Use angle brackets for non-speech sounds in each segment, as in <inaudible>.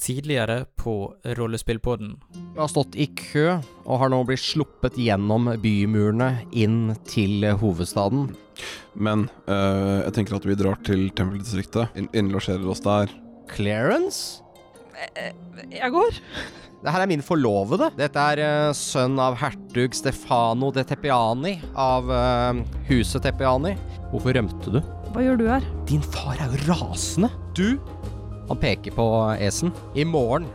tidligere på Rollespillpodden. Du har stått i kø, og har nå blitt sluppet gjennom bymurene inn til eh, hovedstaden. Men eh, jeg tenker at vi drar til tempeldistriktet, inn- innlosjerer oss der. Clarence? Jeg går. Det her er min forlovede. Dette er eh, sønn av hertug Stefano de Tepiani av eh, huset Tepiani. Hvorfor rømte du? Hva gjør du her? Din far er jo rasende. Du? Han peker på Esen. I morgen,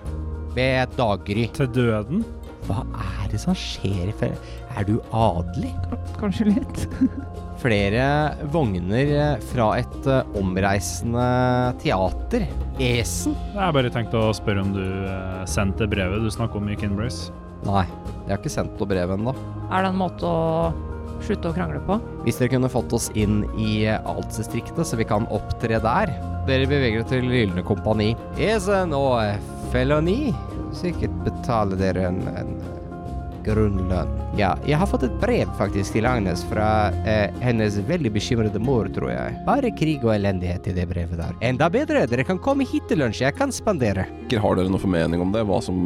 ved daggry. Til døden? Hva er det som skjer? i fe- Er du adelig? Kanskje litt. <laughs> Flere vogner eh, fra et eh, omreisende teater. Esen? Jeg har bare tenkt å spørre om du eh, sendte brevet du snakket om i Kinbrace. Nei, jeg har ikke sendt noe brev ennå. Er det en måte å slutte å krangle på? Hvis dere kunne fått oss inn i eh, Altsdistriktet, så vi kan opptre der. Dere beveger dere til Gylne kompani. Esen og eh, Feloni. Sikkert betaler dere en, en eh, grunnlønn. Ja, jeg har fått et brev faktisk til Agnes fra eh, hennes veldig bekymrede mor, tror jeg. Bare krig og elendighet i det brevet der. Enda bedre, dere kan komme hit til lunsj, jeg kan spandere. Ikke Har dere noen formening om det? Hva som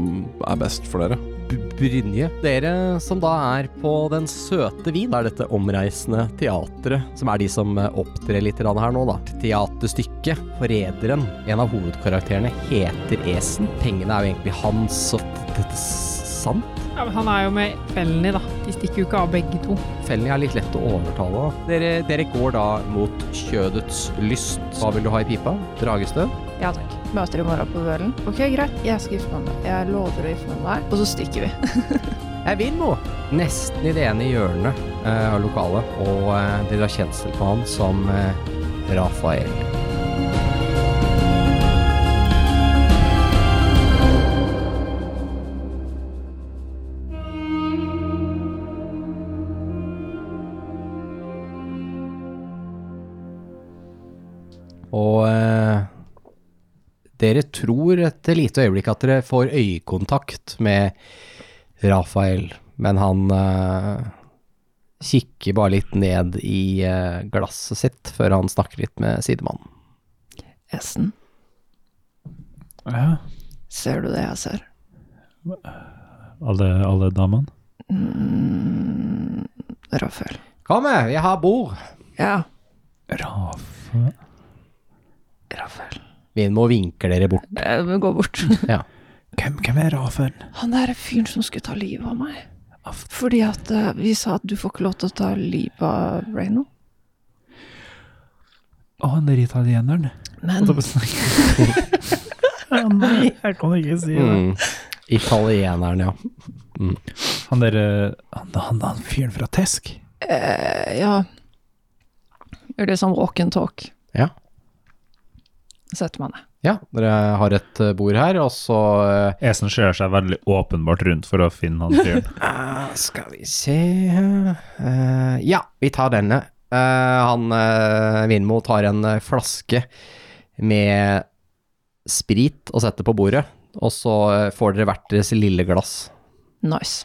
er best for dere? B- Brynje. Dere som da er på Den søte vin, er dette omreisende teatret, som er de som eh, opptrer litt grann her nå, da. Teaterstykket Forræderen. En av hovedkarakterene heter Esen. Pengene er jo egentlig hans, så d- dette er sant. Ja, men han er jo med Felny, da. De stikker jo ikke av begge to. Fellene er litt lett å overtale. da. Dere, dere går da mot kjødets lyst. Hva vil du ha i pipa? Dragestøv? Ja takk. Møter i morgen på duellen. Ok, greit. Jeg skal gifte meg med deg. Jeg lover å gifte meg med deg. Og så stikker vi. <laughs> Jeg vil nå! Nesten i det ene hjørnet eh, av lokalet, og eh, dere har kjensel på han som eh, Rafael. Og eh, dere tror et lite øyeblikk at dere får øyekontakt med Rafael, men han eh, kikker bare litt ned i eh, glasset sitt før han snakker litt med sidemannen. Esten, Ja, ser du det jeg ser? alle, alle damene. Mm, Rafael. Kom, eh, vi har bord! Ja, Rafa Rafael. Vi må vinke dere bort. Eh, men Gå bort. hvem, hvem er Rafen? <laughs> Han der fyren som skulle ta livet av meg. Fordi at eh, vi sa at du får ikke lov til å ta livet av Reyno. Å, han er <laughs> italieneren. Men Å nei, jeg kan ikke si Mm. Italieneren, ja. Han derre han, han, han fyren fra Tesk. eh, ja Gjør det som walk and talk. Ja. Setter meg ned. Ja, dere har et eh, bord her, og så eh, Esen ser seg veldig åpenbart rundt for å finne han <laughs> fyren. eh, Skal vi se eh, Ja, vi tar denne. Eh, han uh, Vinmo tar en eh, flaske med sprit og setter på bordet, og så eh, får dere hvert deres lille glass. Nice.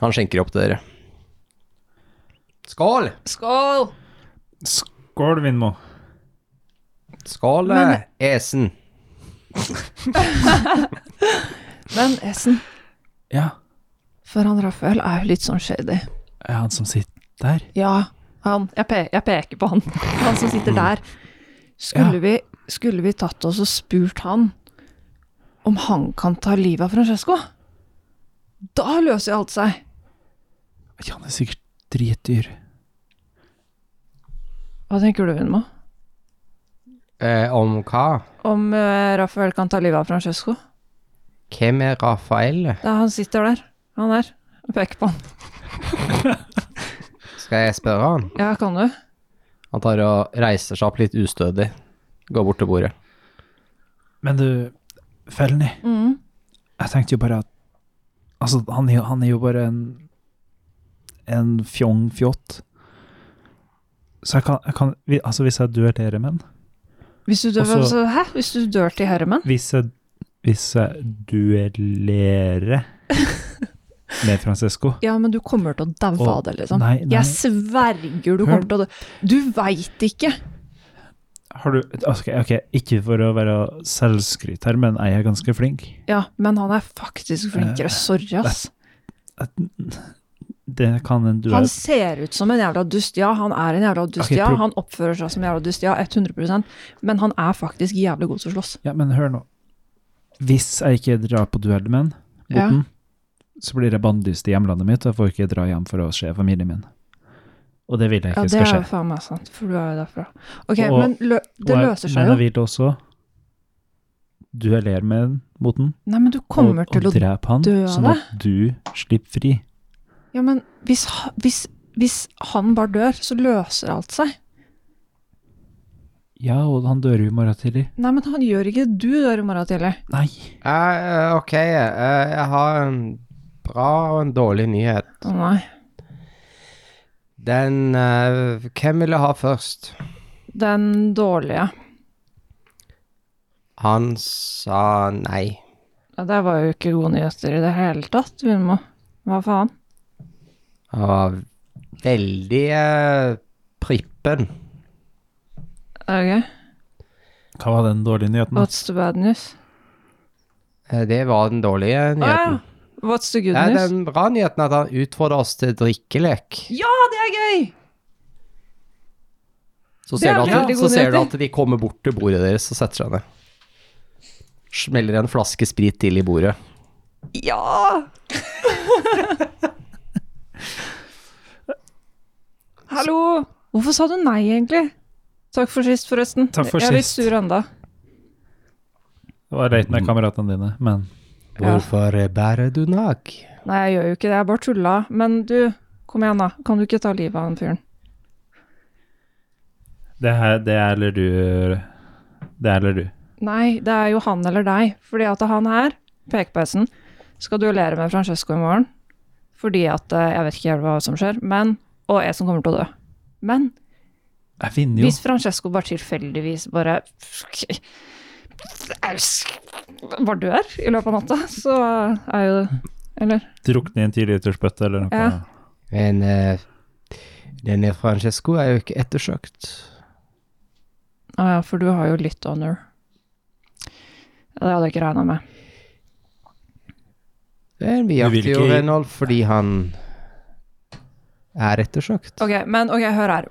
Han skjenker opp til dere. Skål! Skål! Skål, Vindmo. Skål, eh, Men- Esen. Men Esen, Ja, for han Rafael er jo litt sånn shady. er han som sitter der? Ja, han. Jeg, pe jeg peker på han. Han som sitter der. Skulle, Ja. vi, skulle vi tatt oss og spurt han om han kan ta livet av Francesco? Da løser jo alt seg. Ja, han er sikkert dritdyr. Hva tenker du, Vinmo? Eh, om hva? Om eh, Rafael kan ta livet av Francesco? Hvem er Rafael? Det er han sitter der. Han der. Jeg peker på han. Skal jeg spørre han? Ja, kan du? Han tar og reiser seg opp litt ustødig. Går bort til bordet. Men du, Felny, Mm. jeg tenkte jo bare at Altså, han, er jo- han er jo bare en en fjongfjott. Så jeg kan, jeg kan vi- Altså, hvis jeg duellerer med han Hvis du dør, Også- altså, hæ? Hvis du dør til herremenn? Hvis jeg, hvis jeg duellerer med Francesco Ja, men du kommer til å daue Å, av det, liksom. Nei, nei. Jeg sverger du Hør. kommer til å dø. Du veit ikke. Har du altså, ok, ok, ikke for å være selvskryt her, men jeg er ganske flink. Ja, men han er faktisk flinkere. Eh, Sorry, ass. Det kan en duell Han ser ut som en jævla dust, ja. Han er en jævla dust, Ok, ja. prob- Han oppfører seg som en jævla dust, ja. 100 Men han er faktisk jævlig god til å slåss. Ja, men hør nå. Hvis jeg ikke drar på duell med han, Botten, så blir jeg bannlyst i hjemlandet mitt, og jeg får ikke dra hjem for å se familien min. Og det vil jeg Ja, det ikke skal er skje. jo faen meg sant, for du er jo derfra. Ok, Og- men lø det løser seg Men jo. jeg vil også duellere med Botten, Nei, men du og, kommer til og å drepe han, dø av sånn at du slipper fri. Ja, men hvis, ha- hvis, hvis han bare dør, så løser alt seg. Ja, og han dør jo i morgen tidlig. Nei, men han gjør ikke det. Du dør i morgen tidlig. Nei. Eh, ok, eh, jeg har en bra og en dårlig nyhet. Å nei. Den eh, Hvem ville ha først? Den dårlige. Han sa nei. Ja, det var jo ikke gode nyheter i det hele tatt, Vilmo. Hva faen? Han var veldig eh, prippen. Ok, Hva var den dårlige nyheten? what's the bad news? Eh, Det var den dårlige Å Ah, ja, nyheten. what's the good Nei, news? den bra nyheten er at han utfordrer oss til drikkelek. Ja, det er gøy! Så Det ser, er du at, veldig så god ser du nyheter. at de kommer bort til bordet deres og setter seg ned. Smeller en flaske sprit til i bordet. Ja! <laughs> Hallo! Hvorfor sa du nei, egentlig? Takk for sist, forresten. Takk for Jeg er litt sist. sur enda. Det var leit med kameratene dine, men Ja. Hvorfor bærer du nag? Nei, jeg gjør jo ikke det, jeg bare tulla. Men du, kom igjen, da. Kan du ikke ta livet av han fyren? det, her, det er eller du Det er eller du. Nei, det er jo han eller deg. Fordi at han her, pekepesen, skal duellere med Francesco i morgen. Fordi at eh, Jeg vet ikke helt hva som skjer, men Og jeg som kommer til å dø. Men Jeg vinner jo. Hvis Francesco bare tilfeldigvis bare bare dør i løpet av natta, så er jo det Eller? Drukne i en tilitersbøtte eller noe. Ja. Men eh, denne Francesco er jo ikke ettersøkt. Å ja, for du har jo litt honor. Ja, Det hadde jeg ikke regna med. Men vi Du vil jakter jo ikke- Reynold fordi han er ettersøkt. Ok, men ok, hør her.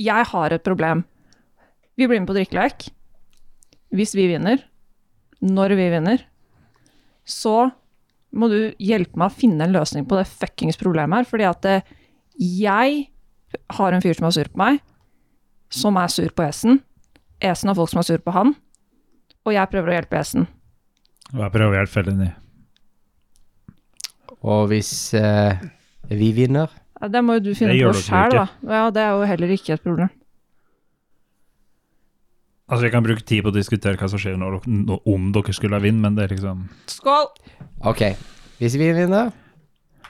Jeg har et problem. Vi blir med på drikkelek. Hvis vi vinner, når vi vinner, så må du hjelpe meg å finne en løsning på det fuckings problemet her, fordi at eh, jeg har en fyr som er sur på meg, som er sur på Esen. Esen har folk som er sur på han, og jeg prøver å hjelpe Esen. Og jeg prøver å hjelpe fellen i. Og hvis eh, vi vinner Ja, Det må jo du finne Det gjør på dere sjæl, da. Ja, det er jo heller ikke et problem. Altså, vi kan bruke tid på å diskutere hva som skjer når, dere- nå- om dere skulle vinne, men det er liksom Skål! Ok, hvis vi vinner,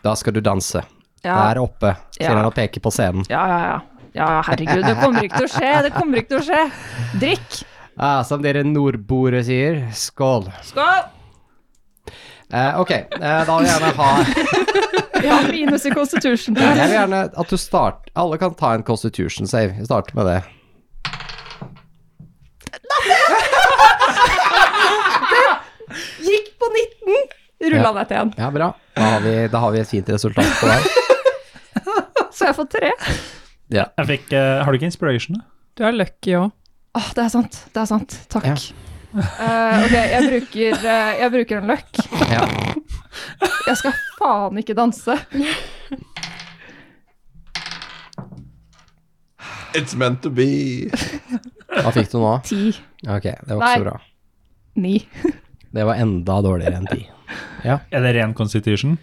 da skal du danse. Ja, Der oppe, ser Ja. han og peker på scenen. Ja, ja, ja. Ja, ja, herregud, det kommer ikke til å skje. Det kommer ikke til å skje. Drikk. Ah, som dere nordboere sier, skål. Skål. Eh, ok, eh, da vil jeg gjerne ha Jeg har minus i constitution. Jeg vil gjerne at du start Alle kan ta en constitution save. Vi starter med det. Gikk på 19. Rulla ned til en. Ja, bra. Da har vi, da har vi et fint resultat på deg. Så jeg får tre. jeg fikk, eh, Har du ikke inspiration, da? Du er lucky òg. Åh, det er sant. Det er sant. Takk. Eh, ok, jeg bruker, eh, jeg bruker en løkk. Ja. Jeg skal faen ikke danse. It's meant to be. Hva fikk du nå? Ti. Ok, det var ikke så Nei. bra. Ni. Det var enda dårligere enn 10. Er det ren constitution?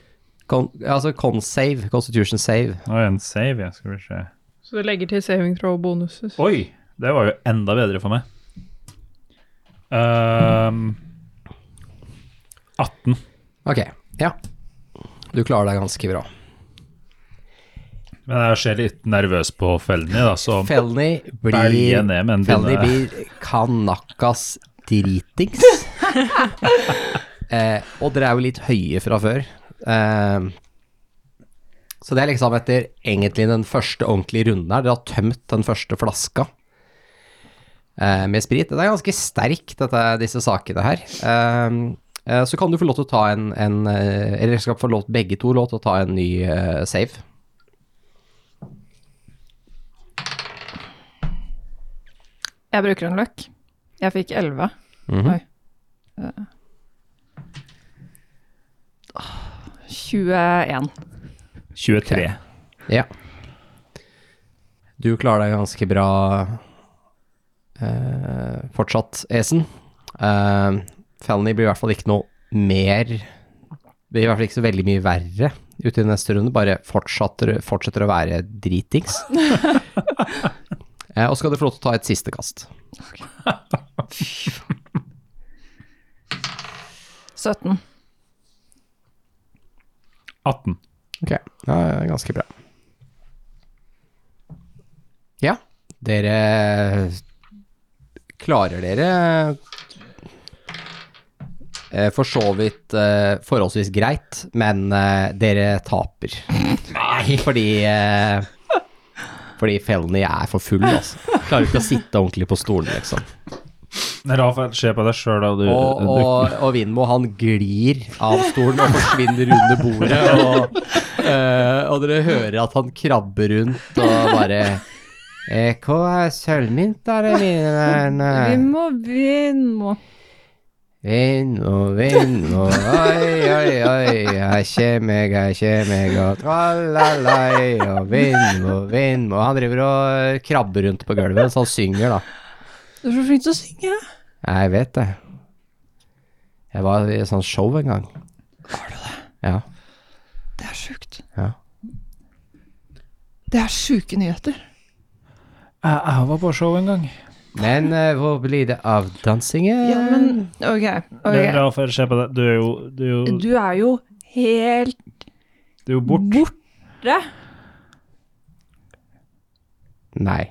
Con, altså con-save, constitution save. Og en save, ja. Skal vi se. Så du legger til saving throw og bonuses. Oi! Det var jo enda bedre for meg. Ehm, 18. Ok, ja. Du klarer deg ganske bra. Men jeg ser litt nervøs på fellene, da, så Felny Belge blir, ned med en Felny dynne. blir kanakkas <laughs> dritings. eh, og dere er jo litt høye fra før. Eh, så det er liksom etter egentlig den første ordentlige runden her. Dere har tømt den første flaska. eh, med sprit. Det er ganske sterkt, dette, disse sakene her. Ehm, eh, så kan du få lov til å ta en, en eh, Eller dere skal få lov, begge to lov til å ta en ny eh, save. Jeg bruker en løkk. Jeg fikk 11. Mhm. Oi. Eh. Åh, 21. 23. Ja. Du klarer deg ganske bra eh, fortsatt, Esen. Eh, Felony blir i hvert fall ikke noe mer Blir i hvert fall ikke så veldig mye verre ute i neste runde. Bare fortsetter, fortsetter å være dritings. eh, og så skal du få lov til å ta et siste kast. 17. 18. Ok, ja, ja, ganske bra. Ja, dere klarer dere eh, for så vidt eh, forholdsvis greit, men eh, dere taper. Nei, fordi eh, fordi Felny er for full, altså. Klarer ikke å sitte ordentlig på stolen, liksom. Rafael, se på deg sjøl, da. Du, Og, du, og, og Vindmo, han glir av stolen og forsvinner under bordet. Og, eh, og dere hører at han krabber rundt og bare eh, Hva er sølvmyntene mine der nå? Vi må vinne. Vind og vind og oi, oi, oi, jeg kommer, jeg kommer og tralalai og vind og vind og Han driver og eh, krabber rundt på gulvet, så han synger, da. Du er så flink til å synge. Ja, Jeg vet det. Jeg var i et sånt show en gang. Var du det? Ja. Det er sjukt. Ja. Det er sjuke nyheter. jeg, jeg var på show en gang. Men eh, hvor blir det av dansingen? Ja, men Eh, OK. Men ok. Rafael, se på deg. Du er jo, du er jo, Du er jo helt du er jo bort. borte. Nei.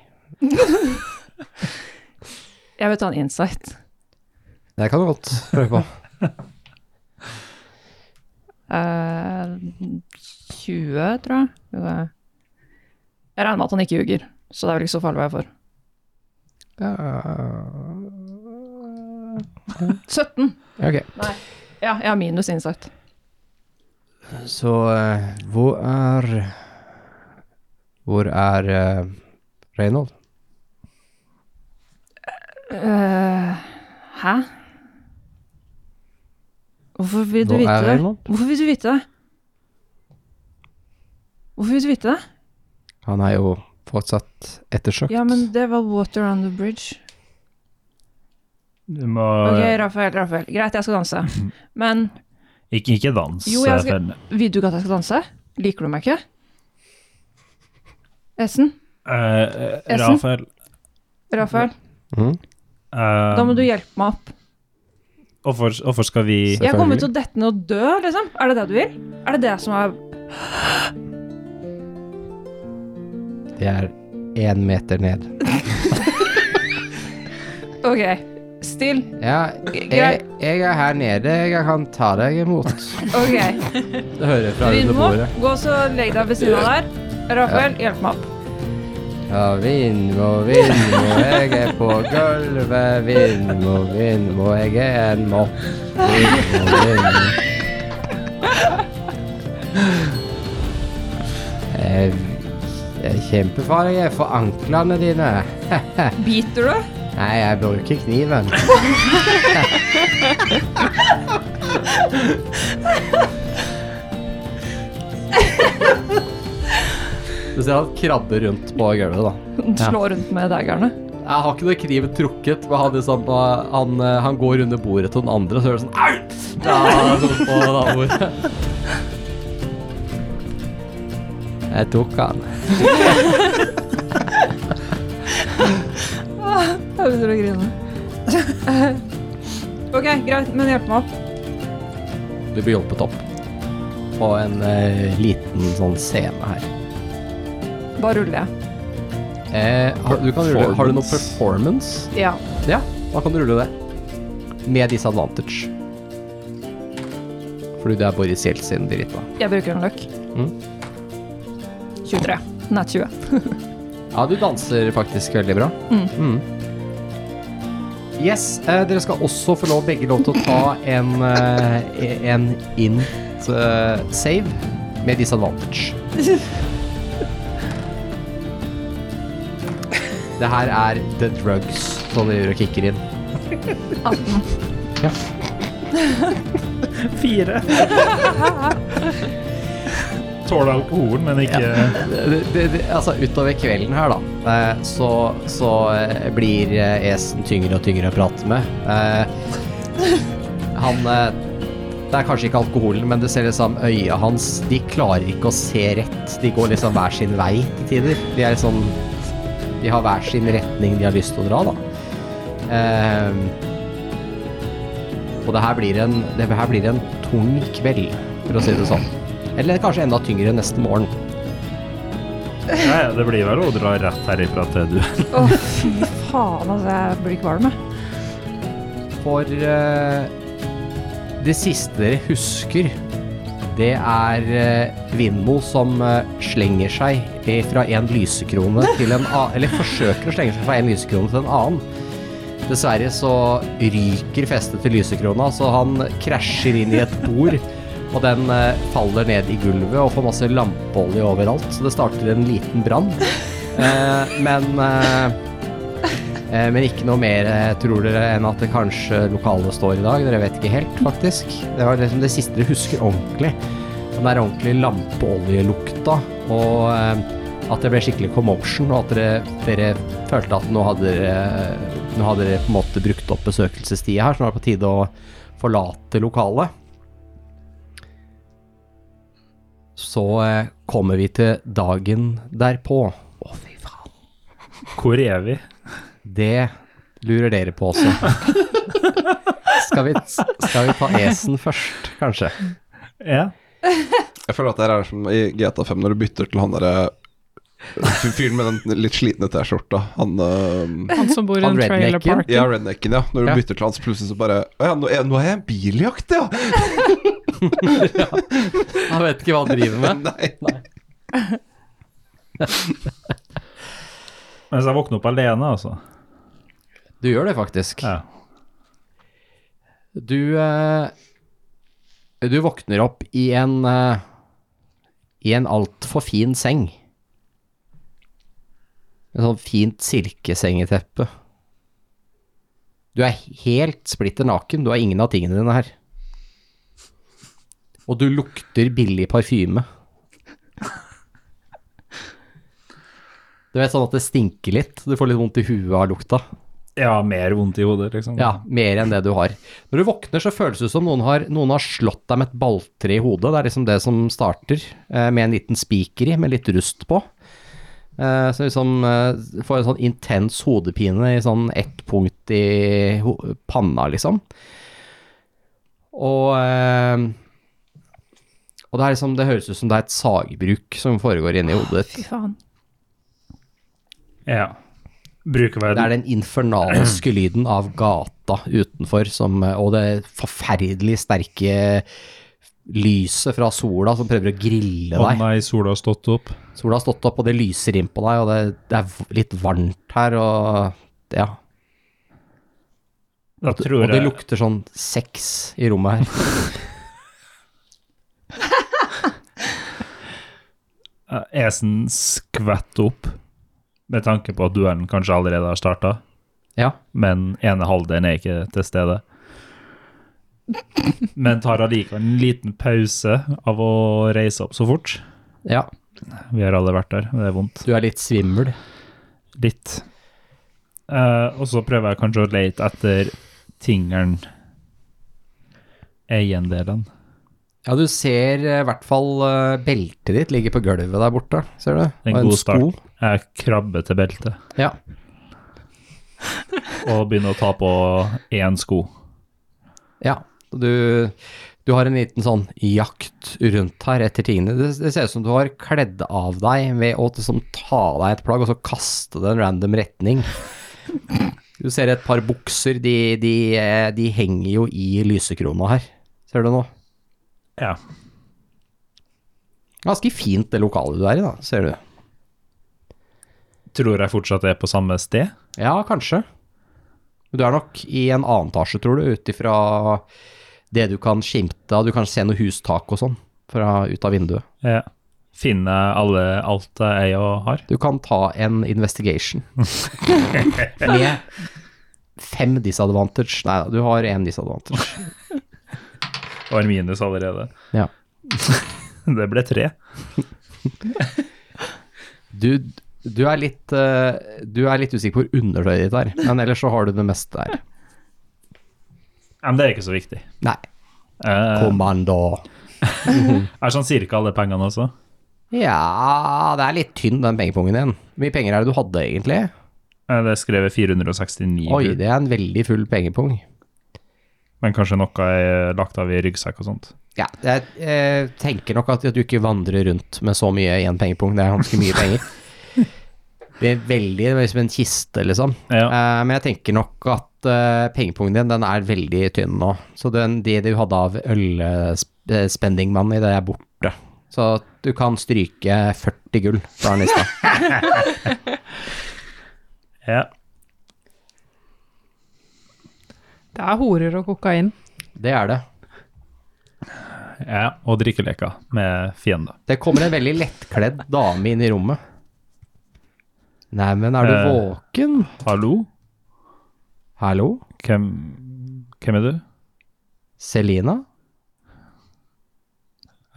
Jeg vil ta en insight. Det kan du godt prøve på. Eh, 20, tror jeg. Skal vi se. Jeg regner med at han ikke ljuger, så det er vel ikke så farlig hva jeg får. Ja. 17. Ok. Ja, jeg har minus insight. Så eh, hvor er Hvor er eh, Reynold? Eh, hæ? Hvorfor vil du Hvor vite er det? Reynold? Hvorfor vil du vite det? Hvorfor vil du vite det? Han er jo fortsatt ettersøkt. Ja, men det var water on the bridge. Du må Ok, Rafael, Rafael. Greit, jeg skal danse. Men ikke, ikke dans. Jo, eh, jeg skal- Felny. vil du ikke at jeg skal danse? Liker du meg ikke? Essen? Eh, eh, Esen? Rafael, Rafael? Mm? eh, Da må du hjelpe meg opp. hvorfor, hvorfor skal vi Jeg kommer til å dette ned og dø, liksom. Er det det du vil? Er det det som er Det er én meter ned. Ok, still. Ja, jeg, Greit. jeg er her nede. Jeg kan ta deg imot. Ok. <laughs> Det hører fra under Vindmo, bordet. gå så legg deg ved siden av der. Rafael, hjelp meg opp. Ja, vind og vind og jeg er på gulvet. Vind og vind og jeg er en mopp. Vind og vind. Jeg, jeg kjemper for deg jeg, for anklene dine. <laughs> Biter du? Nei, jeg bruker kniven. Du ser han krabber rundt på gulvet, da. Slå rundt med daggerne. Jeg har ikke noe kniven trukket, men han, liksom, eh, han, eh, han går under bordet til den andre, og så hører du sånn Au! Ja, sånn på det andre bordet. Jeg tok han. Jeg begynner å grine. <laughs> ok, greit, men hjelp meg opp. Du blir hjulpet opp på en eh, liten sånn scene her. Da ruller jeg. Eh, har, du kan rulle, har du noe performance? Ja. Ja, da kan du rulle det. Med disadvantage. Fordi det er Boris Jeltsin dritt, da. Jeg bruker en løk. Mm. 23. Nei, 20. Ja, du danser faktisk veldig bra. Mm. Yes, eh, dere skal også få lov begge lov til å ta en, eh, en int eh, save med disadvantage. Det her er the drugs som dere gjør og kicker inn. 18. Fire. Tåler alkohol, men ikke <laughs> Det, det, det, altså utover kvelden her, da, eh, så, så eh, blir eh, Esen tyngre og tyngre å prate med. Eh, Han eh, Det er kanskje ikke alkoholen, men du ser liksom øya hans De klarer ikke å se rett. De går liksom hver sin vei til tider. De er sånn De har hver sin retning de har lyst til å dra, da. Eh, og det her blir en Det her blir en tung kveld, for å si det sånn. Eller kanskje enda tyngre neste morgen. Nei, det blir vel å dra rett herifra til du <laughs> Å, fy faen, altså. Jeg blir kvalm, jeg. For eh, det siste dere husker, det er eh, Vindmo som eh, slenger seg eh, fra en lysekrone til en annen Eller forsøker å slenge seg fra en lysekrone til en annen. Dessverre så ryker festet til lysekrona, så han krasjer inn i et bord. Og den eh, faller ned i gulvet og får masse lampeolje overalt, så det starter en liten brann. Eh, men eh, Eh, Men ikke noe mer eh, tror dere enn at det kanskje lokalet står i dag. Dere vet ikke helt, faktisk. Det var liksom det siste dere husker ordentlig. Den der ordentlig lampeoljelukta, og eh, at det ble skikkelig commotion, og at dere, dere følte at nå hadde dere, nå hadde dere på en måte brukt opp besøkelsestida her, så nå er det på tide å forlate lokalet. Så eh, kommer vi til dagen derpå. Å, fy faen. Hvor er vi? Det lurer dere på også. Skal vi, skal vi ta Esen først, kanskje? Ja. Jeg føler at det her er som i GTA5 når du bytter til han derre eh, fyren med den litt slitne T-skjorta. Han eh, Han som bor i Han en trailer rednecken. park. Ja, rednecken, ja. Når du Ja. bytter til han, så plutselig så bare Å ja, nå er, nå er jeg en biljakt, ja! <laughs> Han vet ikke hva han driver med. Nei. Mens jeg våkner opp alene, altså. Du gjør det faktisk. Ja. Du eh, Du våkner opp i en eh, I en altfor fin seng. En sånn fint silkesengeteppe. Du er helt splitter naken, du har ingen av tingene dine her. Og du lukter billig parfyme. Du vet sånn at det stinker litt, du får litt vondt i huet av lukta. Ja, mer vondt i hodet, liksom. Ja, mer enn det du har. Når du våkner, så føles det som noen har, noen har slått deg med et balltre i hodet. Det er liksom det som starter, eh, med en liten spiker i, med litt rust på. Eh, Så liksom eh, får en sånn intens hodepine i sånn ett punkt i ho panna, liksom. Og eh, Og det er liksom Det høres ut som det er et sagbruk som foregår inni hodet ditt. Fy faen. ja. Bruker vel Det er den infernalske lyden av gata utenfor, som, og det forferdelig sterke lyset fra sola som prøver å grille Å deg. nei, sola har stått opp. Sola har stått opp, og det lyser inn på deg, og det, det er v- litt varmt her, og ja. Da tror Og det jeg lukter sånn sex i rommet her. eh, Esen skvetter opp, med tanke på at duellen kanskje allerede har starta, Ja. men ene halvdelen er ikke til stede. Men tar allikevel en liten pause av å reise opp så fort. ja. Vi har alle vært der, det er vondt. Du er litt svimmel. Litt. Eh, og så prøver jeg kanskje å lete etter tingeren Eiendelen. Ja, du ser eh, i hvert fall eh, beltet ditt ligger på gulvet der borte, ser du? Det er Og en god sko. start. Jeg krabber til beltet Ja. og begynner å ta på én sko. Ja, du, du har en liten sånn jakt rundt her etter tingene. Det, det ser ut som du har kledd av deg ved å liksom ta av deg et plagg og så kaste det i en random retning. Du ser et par bukser, de, de, eh, de henger jo i lysekrona her. Ser du nå? Ja. Ganske fint det lokalet du er i da, ser du. Tror jeg fortsatt er på samme sted. Ja, kanskje. Men du er nok i en annen etasje, tror du, ut ifra det du kan skimte av. Du kan se noe hustak og sånn fra ut av vinduet. Ja. Finne alle, alt jeg og har. Du kan ta en investigation. Med fem disadvantage. Nei da, du har én disadvantage. Og en minus allerede. Ja. <laughs> det ble tre. Du, du, er litt, eh, du er litt usikker på hvor undertøyet ditt er, men ellers så har du det meste der. Ja, Men det er ikke så viktig. Nei, Eh, kommando. er sånn cirka alle pengene også. Ja, det er litt tynn den pengepungen din. Hvor mye penger er det du hadde egentlig? Eh, Det er skrevet 469 Oi, gul, det er en veldig full pengepung. men kanskje noe er lagt av i ryggsekk og sånt. Ja, jeg eh, tenker nok at, at du ikke vandrer rundt med så mye i en pengepung. Det er ganske mye penger. <laughs> Det er veldig det er som en kiste, liksom. Ja. Eh, men jeg tenker nok at eh, pengepungen din den er veldig tynn nå. Så den, det du hadde av ølspending money, det er borte. Så du kan stryke 40 gull fra den <laughs> lista. Ja. Det er horer og kokain. Det er det. ja. Og drikkeleker med fiender. Det kommer en veldig lettkledd dame inn i rommet. Neimen, er du Eh. våken? Hallo, Hallo? hvem, hvem er du? Selina?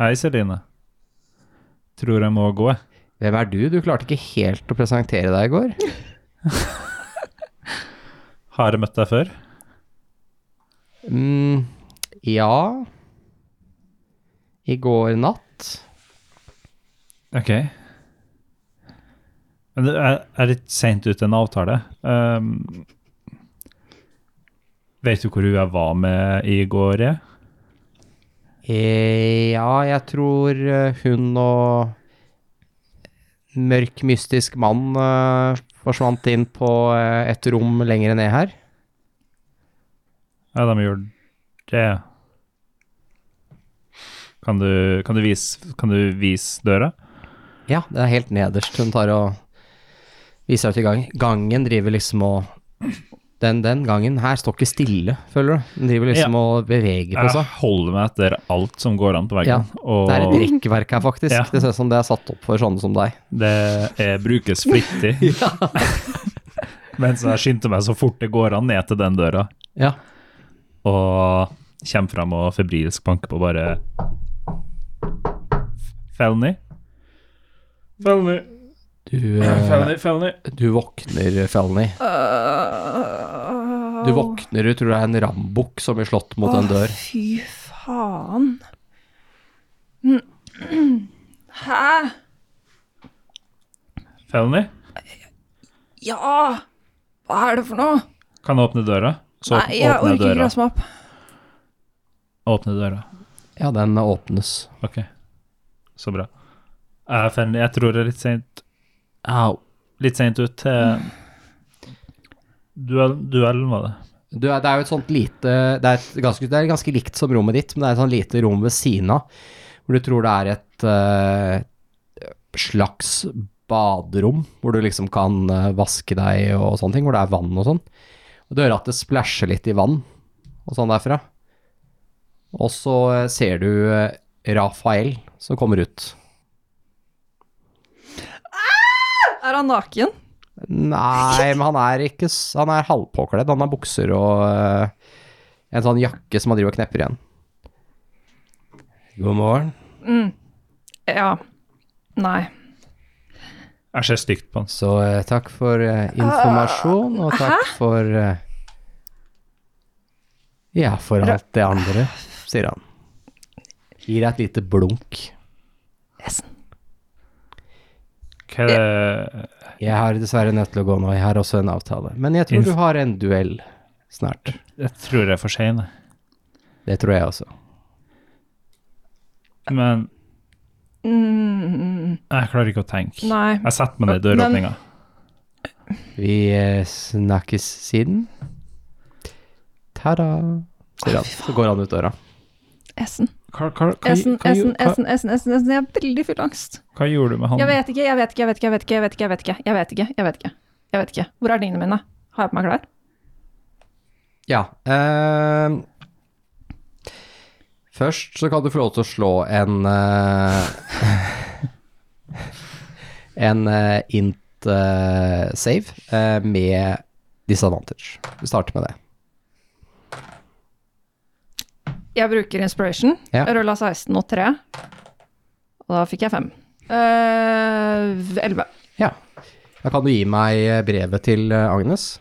Hei, Celine. Tror jeg må gå, jeg. Hvem er du? Du klarte ikke helt å presentere deg i går. Har jeg møtt deg før? Mm, ja I går natt. Ok. Men det er, er litt sent ut en avtale. Ehm, vet du hvor hun jeg var med i går? jeg? Eh, ja, jeg tror eh, hun og mørk, mystisk mann eh, forsvant inn på eh, et rom lenger ned her. Ja, de gjorde det. Kan du, kan du, vise, kan du vise døra? Ja, det er helt nederst. Hun tar og viser deg til gangen. Gangen driver liksom og den, den gangen her står ikke stille, føler du. Den driver liksom og beveger på Jeg seg. holder meg etter alt som går an på veggen. og Det er et rekkverk her, faktisk. Ja. Det ser ut som det er satt opp for sånne som deg. det er, brukes flittig. <laughs> <laughs> Mens jeg skyndte meg så fort det går an ned til den døra. Ja. og kommer fram og febrilsk banker på bare Felny? Felny, Du, eh, du våkner, Felny. Du våkner ut, tror det er en rambukk som blir slått mot en dør. Fy faen. Mm. <clears throat> Hæ? Felny, Ja! Hva er det for noe? kan jeg åpne døra? Så Nei, jeg åpner jeg orker ikke døra. løse meg opp. Åpne døra. Ja, den åpnes. Ok, så bra. Eh, Felny, jeg tror det er litt sent Au. Litt sent ut Eh, til duell, duellen, var det. Du, det er jo et sånt lite det er, et ganske, det er ganske likt som rommet ditt, men det er et sånt lite rom ved siden av, hvor du tror det er et eh, slags baderom, hvor du liksom kan eh, vaske deg og sånne ting, hvor det er vann og sånn. Og du hører at det splasjer litt i vann og sånn derfra. Og så eh, ser du eh, Rafael som kommer ut. Er han naken? Nei, men han er ikke s- Han er halvpåkledd. Han har bukser og eh, en sånn jakke som han driver og knepper igjen. God morgen. Ja. Nei. Jeg ser stygt på han. Så eh, takk for eh, informasjon, og takk for eh, Ja, for alt det andre, sier han. Gir deg et lite blunk. Hva er det Jeg har dessverre nødt til å gå nå, jeg har også en avtale. Men jeg tror Inf- du har en duell snart. Jeg tror jeg er for sein, jeg. Det tror jeg også. Men Mm, jeg klarer ikke å tenke. nei. Jeg setter meg ned i døråpninga. Vi eh, snakkes siden. Ta-da, sier han. Så går han ut døra. Essen. Hva, hva, hva, Essen, hva, essen, hva, essen, essen, essen. essen. Jeg har veldig full angst. hva gjorde du med han? Jeg vet ikke, jeg vet ikke, jeg vet ikke, jeg vet ikke, jeg vet ikke, jeg vet ikke, jeg vet ikke, jeg vet ikke, jeg vet ikke. Hvor er tingene mine? Har jeg på meg klær? Ja. ehm, først så kan du få lov til å slå en eh, <laughs> En eh, int eh, save eh, med disadvantage. Vi starter med det. Jeg bruker inspiration. Ja. Jeg rulla 16 og 3. Og da fikk jeg 5. Uh, 11. Ja. Da kan du gi meg brevet til eh, Agnes.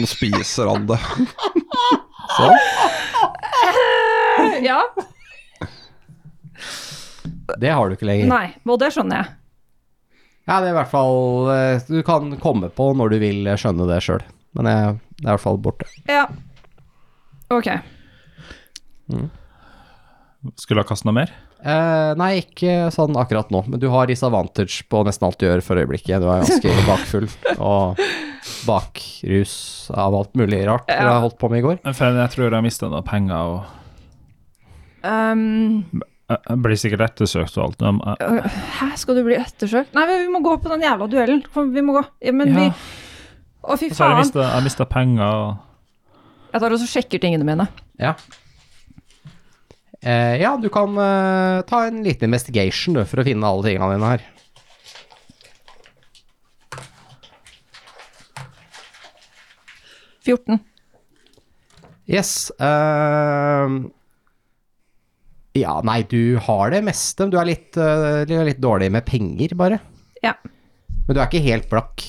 Nå spiser han det. Sånn. Ja. Det har du ikke lenger. Nei. Og det skjønner jeg. Ja, det er i hvert fall eh, Du kan komme på når du vil eh, skjønne det sjøl, men eh, det er i hvert fall borte. Ja. Ok. Skulle ha kastet noe mer? Eh, nei, ikke sånn akkurat nå, men du har disadvantage på nesten alt du gjør for øyeblikket. Du er ganske bakfull og bakrus av alt mulig rart dere har holdt på med i går. Men Fenn, jeg tror jeg mistet noen penger og Um, jeg jeg blir sikkert ettersøkt og alt. men eh, jeg- Hæ, skal du bli ettersøkt? Nei, men vi må gå på den jævla duellen. Kom, vi må gå. Ja, men Ja. vi Å, fy Og så har jeg faen. mistet- jeg har mista penger og Jeg tar også sjekker tingene mine. Ja. Eh, ja, du kan eh, ta en liten investigation du, for å finne alle tingene dine her. Yes. ehm, ja, nei, du har det meste. men Du er litt, eh, du er litt dårlig med penger, bare. Ja. Men du er ikke helt blakk.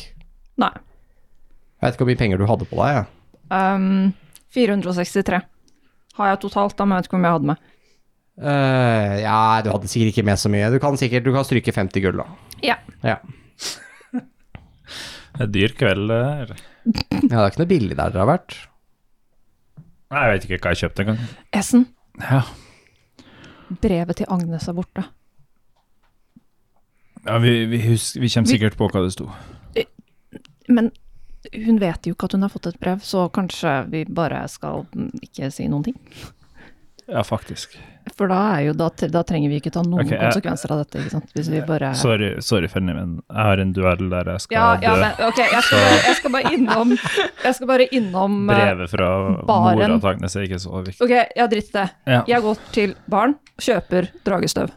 Nei. Jeg vet ikke hvor mye penger du hadde på deg. jeg. Um, 463 har jeg totalt, da, men jeg vet ikke hvor mye jeg hadde med. Eh, ja, du hadde sikkert ikke med så mye. Du kan sikkert du kan stryke 50 gull, da. Ja. Ja, Det er dyr kveld. eh, det her. ja det er ikke noe billig der dere har vært. Nei, Jeg vet ikke hva jeg kjøpte engang. Essen, Ja. brevet til Agnes er borte. Ja, vi, vi, husker, vi kommer Vi- sikkert på hva det sto. Men hun vet jo ikke at hun har fått et brev, så kanskje vi bare skal mm, ikke si noen ting. Ja, faktisk. For da, er jo, da, da trenger vi ikke ta noen Ok, jeg- konsekvenser av dette, ikke sant. Hvis vi bare Sorry, sorry Fanny, men jeg har en duell der jeg skal Ja, dø. ja, men ok, jeg skal, bare- jeg skal bare innom Jeg skal bare innom eh, Brevet Baren. fra mora til Agnes er ikke så viktig. Ok, ja, dritt det. Ja. Jeg går til baren, kjøper dragestøv.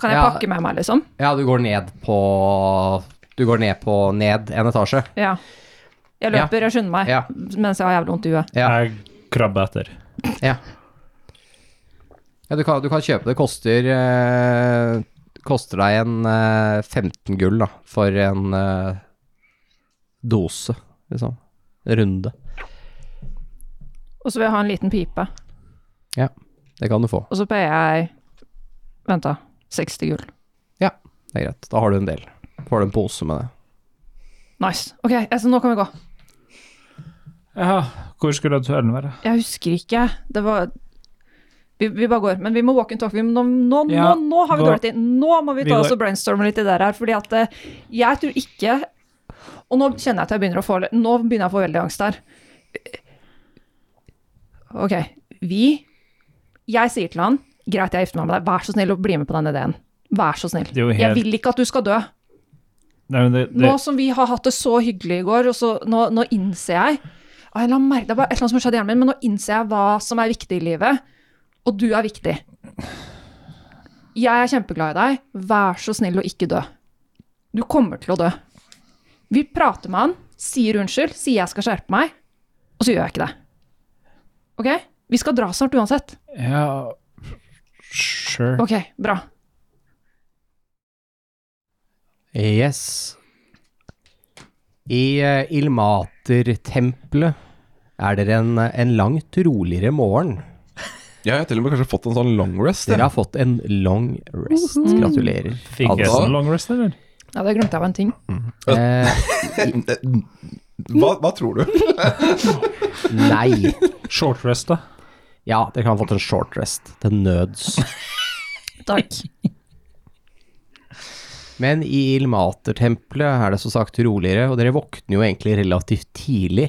Kan jeg Ja. pakke med meg, liksom? Ja, du går ned på Du går ned på ned en etasje. Ja. Jeg Ja. løper, jeg skynder meg, Ja. mens jeg har jævlig vondt i huet. Ja. Jeg krabber etter. Ja, ja du, kan, du kan kjøpe det. Koster eh, Koster deg en eh, 15 gull, da, for en eh, dose, liksom. Runde. Og så vil jeg ha en liten pipe, Ja, det kan du få. og så payer jeg Vent, da. 60 gull. Ja, det er greit. Da har du en del. Får du en pose med det. Nice. Ok, altså, nå kan vi gå. Ja, hvor skulle duellen være? Jeg husker ikke. Det var vi, vi bare går. Men vi må walk and talk. Vi må, nå, nå, Ja, nå, nå har vi gå. dårlig tid. Nå må vi Vi ta går. oss og brainstorme litt i det her, fordi at eh, jeg tror ikke Og nå kjenner jeg at jeg begynner å få Nå begynner jeg å få veldig angst her. Ok, vi Jeg sier til han Greit, jeg gifter meg med deg. Vær så snill og bli med på den ideen. Vær så snill. Det er jo Jeg helt- vil ikke at du skal dø. Nei, men det, det, Nå som vi har hatt det så hyggelig i går, og så nå, nå innser jeg Av en eller annen merke- Det er bare et eller annet som har skjedd i hjernen min, men nå innser jeg hva som er viktig i livet. Og du er viktig. Jeg er kjempeglad i deg. Vær så snill å ikke dø. Du kommer til å dø. Vi prater med han, sier unnskyld, sier jeg skal skjerpe meg, og så gjør jeg ikke det. OK? Vi skal dra snart uansett. Ja, sure. OK, bra. Yes. I eh, Ilmater-tempelet er dere en, en langt roligere morgen. Jeg har til og med kanskje fått en sånn long rest. Dere jeg. har fått en long rest. Gratulerer. Altså. Fikk jeg alle. sånn long rest, eller? Ja, det glemte jeg var en ting. Eh, <laughs> Hva, hva tror du? nei. Short rest, da. Ja, dere kan ha fått en short rest. Til nøds. Takk. Men i Ilmater-tempelet er det som sagt roligere, og dere våkner jo egentlig relativt tidlig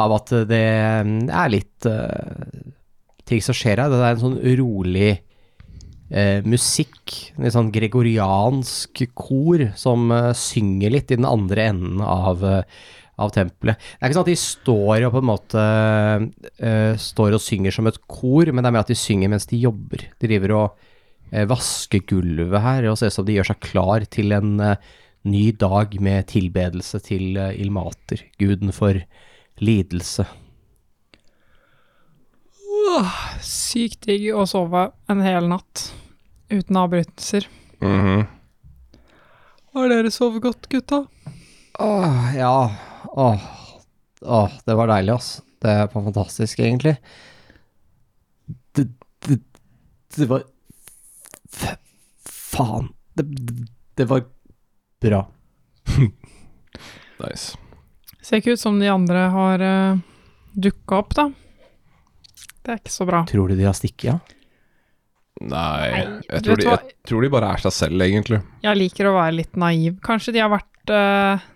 av at det mm, er litt eh, ting som skjer her. Det er en sånn rolig eh, musikk, en litt sånn gregoriansk kor som eh, synger litt i den andre enden av, eh, av tempelet. Det er ikke sånn at de står og på en måte eh, står og synger som et kor, men det er mer at de synger mens de jobber. De driver og eh, vasker gulvet her og ser ut som de gjør seg klar til en eh, ny dag med tilbedelse til eh, Ilmater, guden for lidelse. Sykt digg å sove en hel natt uten avbrytelser. Mhm. Har dere sovet godt, gutta? Åh, ja. Åh, åh, det var deilig, ass. Det var fantastisk, egentlig. Det, det, det var f- Faen. Det, det- det var bra. Nice. Ser ikke ut som de andre har uh, dukka opp, da. Det er ikke så bra. Tror du de har stikket, ja? Nei, jeg du tror, vet de, hva? jeg tror de bare er seg selv, egentlig. Jeg liker å være litt naiv. Kanskje de har vært eh,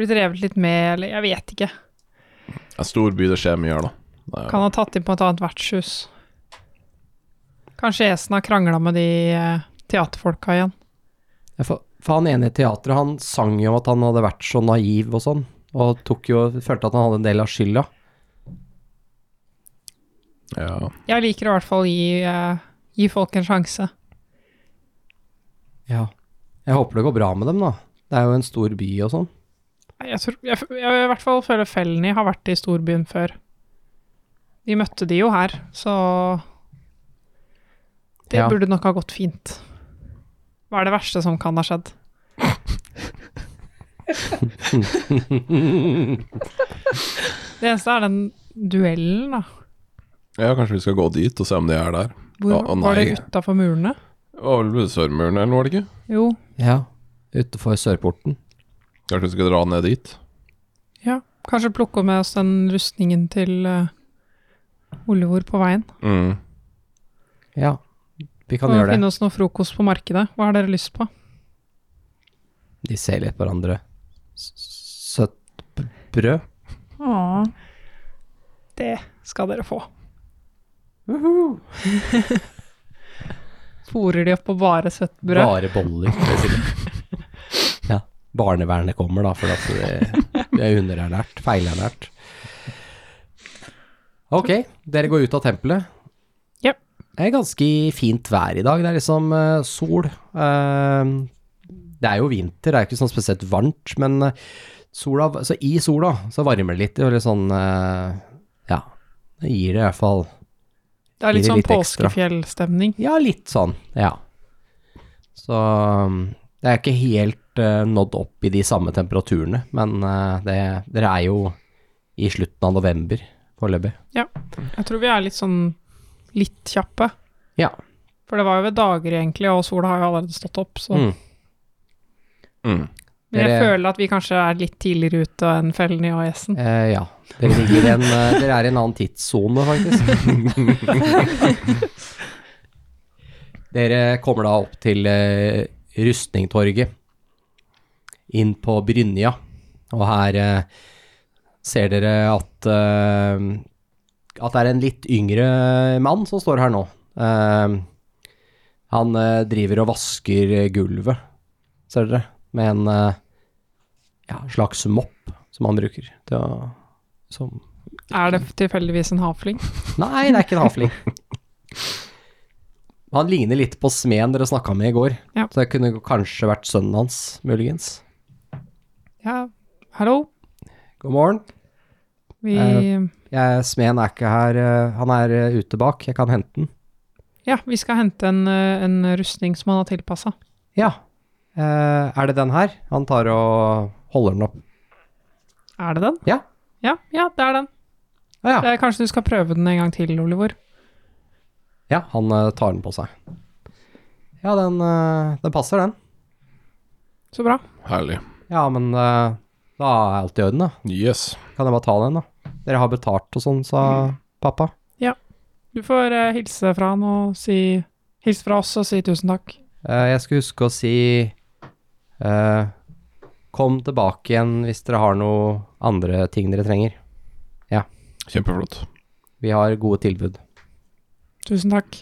blitt revet litt med, eller jeg vet ikke. En stor by, det skjer mye her, da. Det er- Kan ha tatt inn på et annet vertshus. Kanskje Esen har krangla med de eh, teaterfolka igjen. Ja, For, for han ene i teatret, han sang jo om at han hadde vært så naiv og sånn, og tok jo, følte at han hadde en del av skylda. ja. Jeg liker å i hvert fall gi, eh, gi folk en sjanse. Ja. Jeg håper det går bra med dem, da. Det er jo en stor by og sånn. Jeg, tror, jeg, f- jeg i hvert fall føler Felny har vært i storbyen før. Vi møtte de jo her, så Det Ja. burde nok ha gått fint. Hva er det verste som kan ha skjedd? Det eneste er den duellen, da. ja, kanskje vi skal gå dit og se om de er der. Hvor Å, å, var nei. det utafor murene? Det var vel ved Sørmuren, eller var det ikke? Jo, Ja. Utenfor sørporten. Kanskje vi skal dra ned dit? ja. Kanskje plukke med oss den rustningen til eh, Olivor på veien. Mm. Ja, vi kan Og gjøre det. finne oss noe frokost på markedet. Hva har dere lyst på? De ser litt på hverandre. S- Søtt b- brød? Åh. Det skal dere få. <laughs> Fôrer de opp på bare søtt brød? Bare boller, basically. ja. Barnevernet kommer, da, for at eh, det- vi er underernært. Feilernært. Ok, dere går ut av tempelet. Ja. Det er ganske fint vær i dag. Det er liksom eh, sol. Eh, det er jo vinter, det er ikke sånn spesielt varmt, men eh, sola, så i sola så varmer det litt. Og litt sånn eh, Ja, det gir det i hvert fall Det er litt Gir det sånn litt ekstra. påskefjellstemning. Ja, litt sånn, ja. Så um, det er ikke helt eh, nådd opp i de samme temperaturene, men eh, det, dere er jo i slutten av november foreløpig. Jeg tror vi er litt sånn litt kjappe. Ja. For det var jo ved dager egentlig, og sola har jo allerede stått opp, så Mm. Mm. Men jeg Dere- føler at vi kanskje er litt tidligere ute enn Felny og Esen. Eh, ja. Dere, ligger i en, eh, dere er i en annen tidssone, faktisk. dere kommer da opp til eh, Rustningtorget, inn på Brynja, og her eh, ser dere at, eh, at det er en litt yngre mann som står her nå. Eh, han eh, driver og vasker eh, gulvet, ser dere, med en eh, ja, slags mopp som han bruker til å som Er det tilfeldigvis en havfling? Nei, det er ikke en havfling. <laughs> Han ligner litt på smeden dere snakka med i går, Ja. så det kunne kanskje vært sønnen hans, muligens. Ja, hallo? God morgen. Vi Eh. Jeg, smeden er ikke her, eh, han er eh, ute bak, jeg kan hente den. Ja, vi skal hente en, eh, en rustning som han har tilpassa. Ja, eh, er det den her? Han tar og holder den opp. Er det den? Ja. Ja, ja, det er den. Å ja. Det er, kanskje du skal prøve den en gang til, Olivor. ja, han eh, tar den på seg. Ja, den, eh, den passer, den. Så bra. Herlig. Ja, men eh, da er alt i orden, da. Yes. Kan jeg bare ta den, da? Dere har betalt og sånn, sa pappa. Du får eh, hilse fra han og si Hils fra oss og si tusen takk. Eh, jeg skal huske å si eh, Kom tilbake igjen hvis dere har noe andre ting dere trenger. Kjempeflott. Vi har gode tilbud. Tusen takk.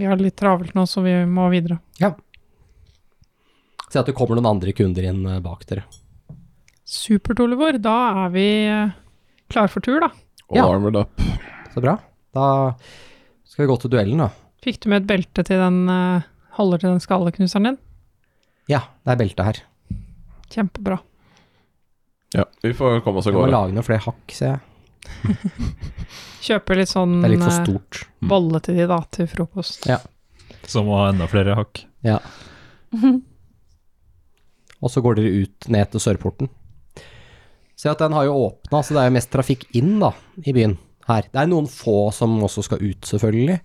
Vi har det litt travelt nå, så vi må videre. Se at det kommer noen andre kunder inn eh, bak dere. Supert, Olivor. Da er vi eh, klar for tur, da. Ja. Armored up. Så bra. Da skal vi gå til duellen, da. Fikk du med et belte til den eh, holder til den skalleknuseren din? Ja, det er belte her. Kjempebra. Ja, vi får komme oss av Vi må gårde. lage noen flere hakk, ser jeg. Kjøper litt sånn Det er litt for eh, stort. bolle til de da, til frokost. Ja. Som må ha enda flere hakk. Og så går dere ut ned til Sørporten. Se at den har jo åpna, så det er jo mest trafikk inn da, i byen her. Det er noen få som også skal ut, selvfølgelig.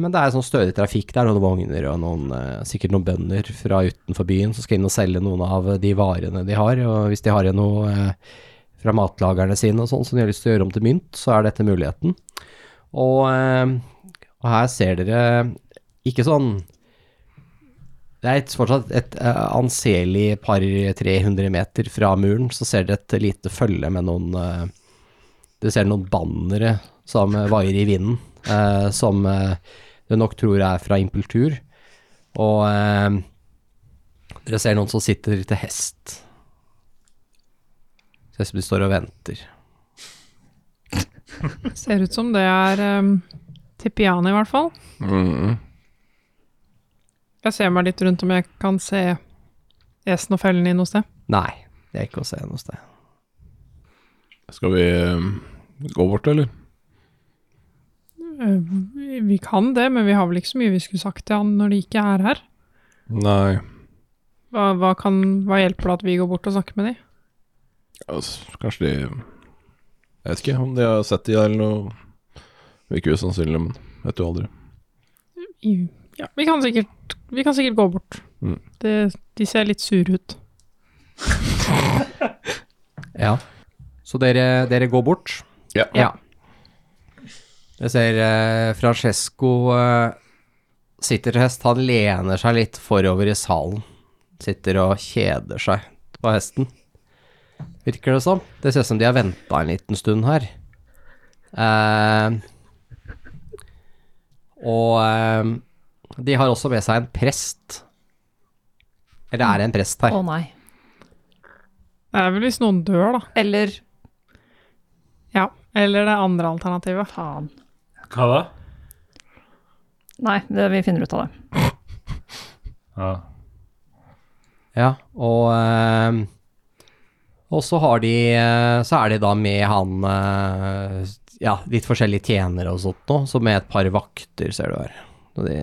Men det er sånn stødig trafikk. Det er noen vogner og noen, eh, sikkert noen bønder fra utenfor byen som skal inn og selge noen av de varene de har. Og hvis de har igjen noe eh, fra matlagerne sine og sånn som de har lyst til å gjøre om til mynt, så er dette muligheten. Og, eh, og her ser dere ikke sånn det er et, fortsatt et eh, anselig par 300 meter fra muren, så ser dere et lite følge med noen eh, Dere ser noen bannere som eh, vaier i vinden, eh, som eh, dere nok tror er fra Impultur. Og eh, dere ser noen som sitter til hest. Ser ut som de står og venter. Ser ut som det er um, til piano, i hvert fall. Mm. Jeg ser meg litt rundt om jeg kan se esen og fellen i noe sted. Nei, det er ikke å se noe sted. Skal vi um, gå bort, eller? Eh, vi- Vi kan det, men vi har vel ikke så mye vi skulle sagt til han når de ikke er her. Nei. Hva, hva, kan, hva hjelper det at vi går bort og snakker med de? Altså, kanskje de Jeg vet ikke om de har sett de der eller noe. Virker usannsynlig, men vet du aldri. I- Ja, vi, kan sikkert, vi kan sikkert gå bort. Mm. Det, de ser litt sure ut. Ja. Så dere, dere går bort. Ja. Ja. Jeg ser eh, Francesco eh, sitter til hest. Han lener seg litt forover i salen. Sitter og kjeder seg på hesten. Virker det som. Det ser ut som de har venta en liten stund her. Eh, og eh, de har også med seg en prest. Eller er det en prest her? Å nei. Det er vel hvis noen dør, da. Eller Ja. Eller det andre alternativet. faen. Hva da? Nei, det, vi finner ut av det. Ja. Ja, og eh, Og så har de eh, Så er de da med han eh, Ja, litt forskjellige tjenere og sånt nå, så med et par vakter, ser du her. Og de,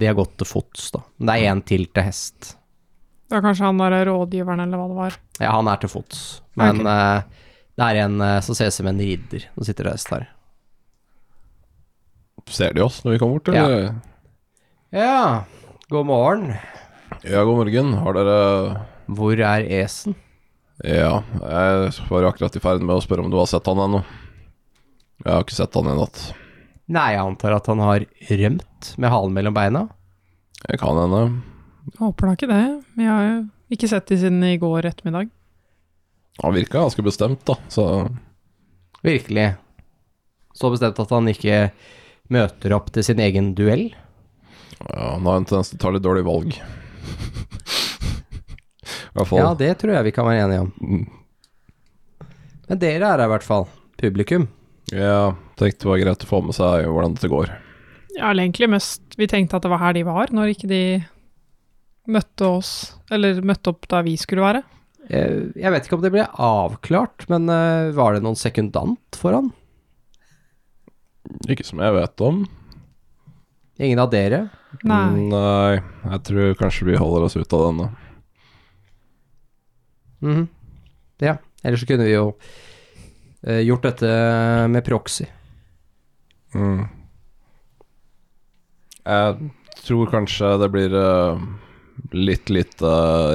de har gått til fots, da. Men det er én til til hest. Det var kanskje han der rådgiveren, eller hva det var. Ja, han er til fots. Men eh, det er en eh, som ser ut som en ridder som sitter til hest her. Ser de oss når vi kommer bort, eller? Ja, god morgen. Ja, god morgen. Har dere Hvor er Esen? Ja, jeg var jo akkurat i ferd med å spørre om du har sett han ennå. Jeg har ikke sett han i natt. Nei, jeg antar at han har rømt med halen mellom beina. Jeg kan henne. Håper da ikke det. Vi har jo ikke sett de siden i går ettermiddag. Han virka ganske bestemt, da, så Virkelig. Så bestemt at han ikke møter opp til sin egen duell. ja, han har en tendens til å ta litt dårlige valg. <laughs> I hvert fall. Ja, det tror jeg vi kan være enige om. Mm. Men dere er her i hvert fall. Publikum. Ja, tenkte det var greit å få med seg hvordan dette går. Ja, eller egentlig mest Vi tenkte at det var her de var, når ikke de møtte oss Eller møtte opp der vi skulle være. Eh, Jeg vet ikke om det ble avklart, men eh, var det noen sekundant for han? Ikke som jeg vet om. Ingen av dere? Mm. Nei. Nei, jeg tror kanskje vi holder oss ut av denne. Mhm. Ja. Ellers så kunne vi jo eh, gjort dette med proxy. Mm. Jeg tror kanskje det blir eh, litt lite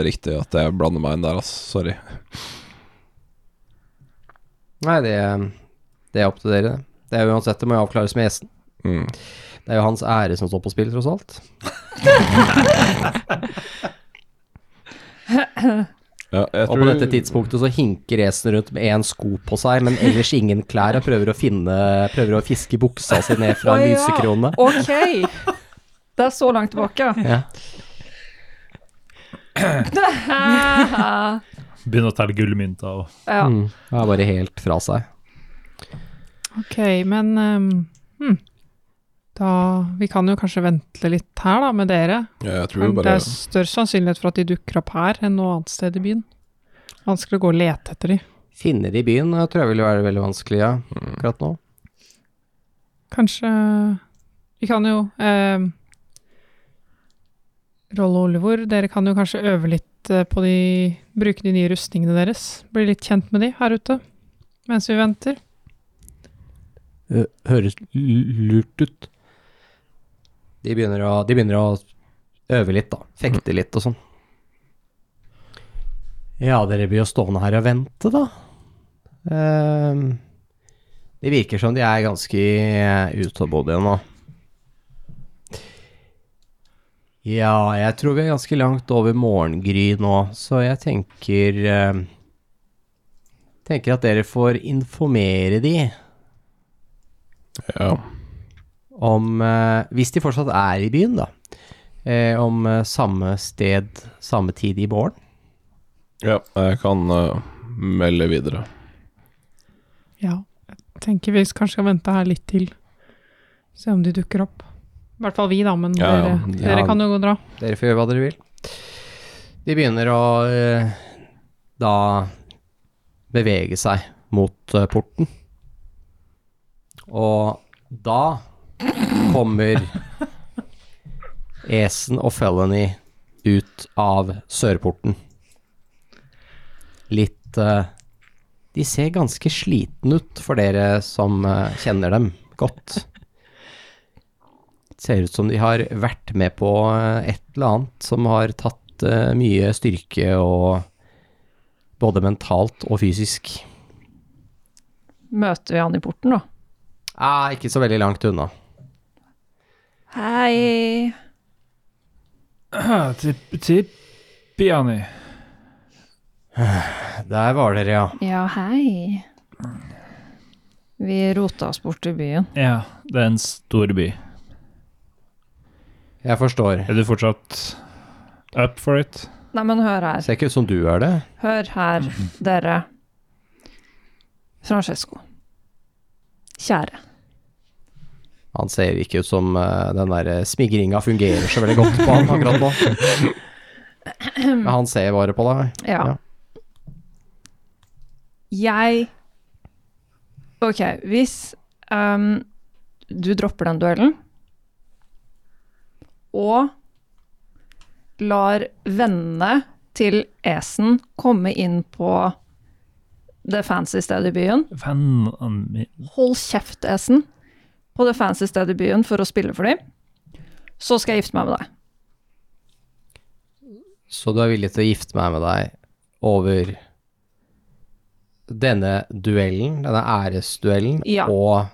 riktig at jeg blander meg inn der, ass. Sorry. Nei, det, det er opp til dere. Det er uansett, det må jo avklares med gjesten. Mm. Det er jo hans ære som står på spill, tross alt. Ja, jeg Og på dette tidspunktet så hinker Esen rundt med én sko på seg, men ellers ingen klær, og prøver å finne Prøver å fiske buksa si ned fra <laughs> Å ja. lysekronene. Ok! Det er så langt tilbake. Ja. ja. Begynner å telle gullmynter og Mm. Det er bare helt fra seg. Ok, men ehm, hm. Da Vi kan jo kanskje vente litt her, da, med dere. Ja, jeg tror Men jo Det bare er større sannsynlighet for at de dukker opp her enn noe annet sted i byen. Vanskelig å gå og lete etter de. Finner i byen eh, tror jeg vil være veldig vanskelig ja, akkurat nå. Kanskje Vi kan jo ehm, Rolle og Olivor, dere kan jo kanskje øve litt eh, på de Bruke de nye rustningene deres. Bli litt kjent med de her ute mens vi venter. høres lurt ut. De begynner å, de begynner å øve litt, da. Fekte litt og sånn. Ja, dere blir jo stående her og vente, da. Ehm, det virker som de er ganske eh, utålmodige nå. Ja, jeg tror vi er ganske langt over morgengry nå, så jeg tenker ehm, Tenker at dere får informere de ja. om eh, Hvis de fortsatt er i byen, da. Eh, om eh, samme sted, samme tid i morgen. ja, jeg kan eh, melde videre. Ja, jeg tenker vi kanskje skal vente her litt til. Se om de dukker opp. I hvert fall vi, da, men Ja, ja. dere, Ja. dere kan jo gå og dra. Dere får gjøre hva dere vil. De begynner å eh, da bevege seg mot eh, porten. Og da kommer Esen og Felony ut av sørporten. Litt eh, De ser ganske slitne ut for dere som eh, kjenner dem godt. Ser ut som de har vært med på eh, et eller annet som har tatt eh, mye styrke og Både mentalt og fysisk. <laughs> Møter vi han i porten, da? Ah, ikke så veldig langt unna. Hei. Ah, Tippiani. Der var dere, ja. Ja, hei. Vi rota oss bort til byen. Ja, det er en stor by. Jeg forstår. Er du fortsatt up for it? Nei, men hør her. Ser ikke ut som du er det. Hør her, dere. Francesco. Kjære. Han ser ikke ut som eh, den der smigringa fungerer så veldig godt på han akkurat nå. Men han ser bare på deg. Ja. Ja. Jeg Ok, hvis ehm, du dropper den duellen og lar vennene til Esen komme inn på det fancy stedet i byen Vennene mine Hold kjeft, Esen, på det fancy stedet i byen for å spille for dem. Så skal jeg gifte meg med deg. Så du er villig til å gifte meg med deg over denne duellen, denne æresduellen, Ja. og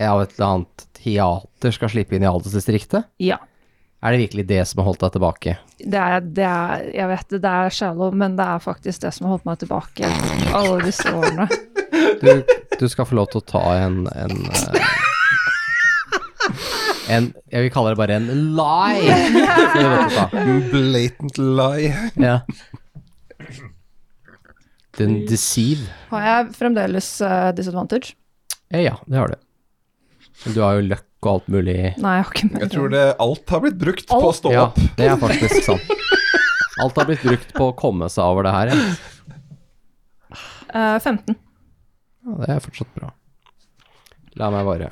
av et eller annet teater skal slippe inn i adelsdistriktet? Ja. Er det virkelig det som har holdt deg tilbake? Det er, det er, jeg vet det, det er shallow, men det er faktisk det som har holdt meg tilbake alle disse årene. Du, du skal få lov til å ta en en, eh, en Jeg vil kalle det bare en lie. skal du få lov til å ta. Mm, Blatant lie. Ja. Den deceive. <laughs> Har jeg fremdeles eh, disadvantage? Eh, Ja, det har du. Men Du har jo løkk og alt mulig. Nei, jeg har ikke mer. Jeg tror det alt har blitt brukt på å Alt? stå ja, opp. det er faktisk sant. Alt har blitt brukt på å komme seg over det her. Ja. Eh, 15. Ja, det er fortsatt bra. La meg bare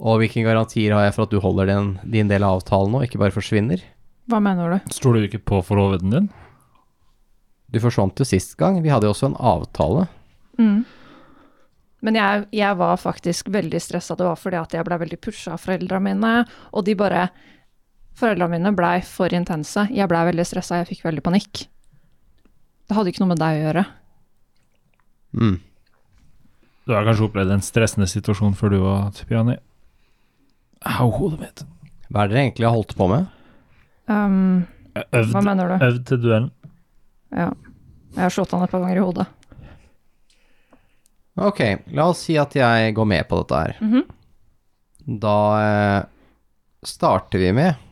Og hvilke garantier har jeg for at du holder din, din del av avtalen nå, ikke bare forsvinner? Hva mener du? Stoler du ikke på forloveden din? Du forsvant jo sist gang, vi hadde jo også en avtale. Men jeg, jeg var faktisk veldig stressa. Det var fordi at jeg blei veldig pusha av foreldra mine, og de bare Foreldra mine blei for intense. Jeg blei veldig stressa, jeg fikk veldig panikk. Det hadde ikke noe med deg å gjøre. Mm. Du har kanskje opplevd en stressende situasjon før du var Tipiani? Au, hodet mitt. Hva er det dere egentlig har holdt på med? Ehm, Jeg Hva Øvd, mener du? øvd til duellen. Ja. Jeg har slått han et par ganger i hodet. Ok, la oss si at jeg går med på dette her. Mhm. Da eh, starter vi med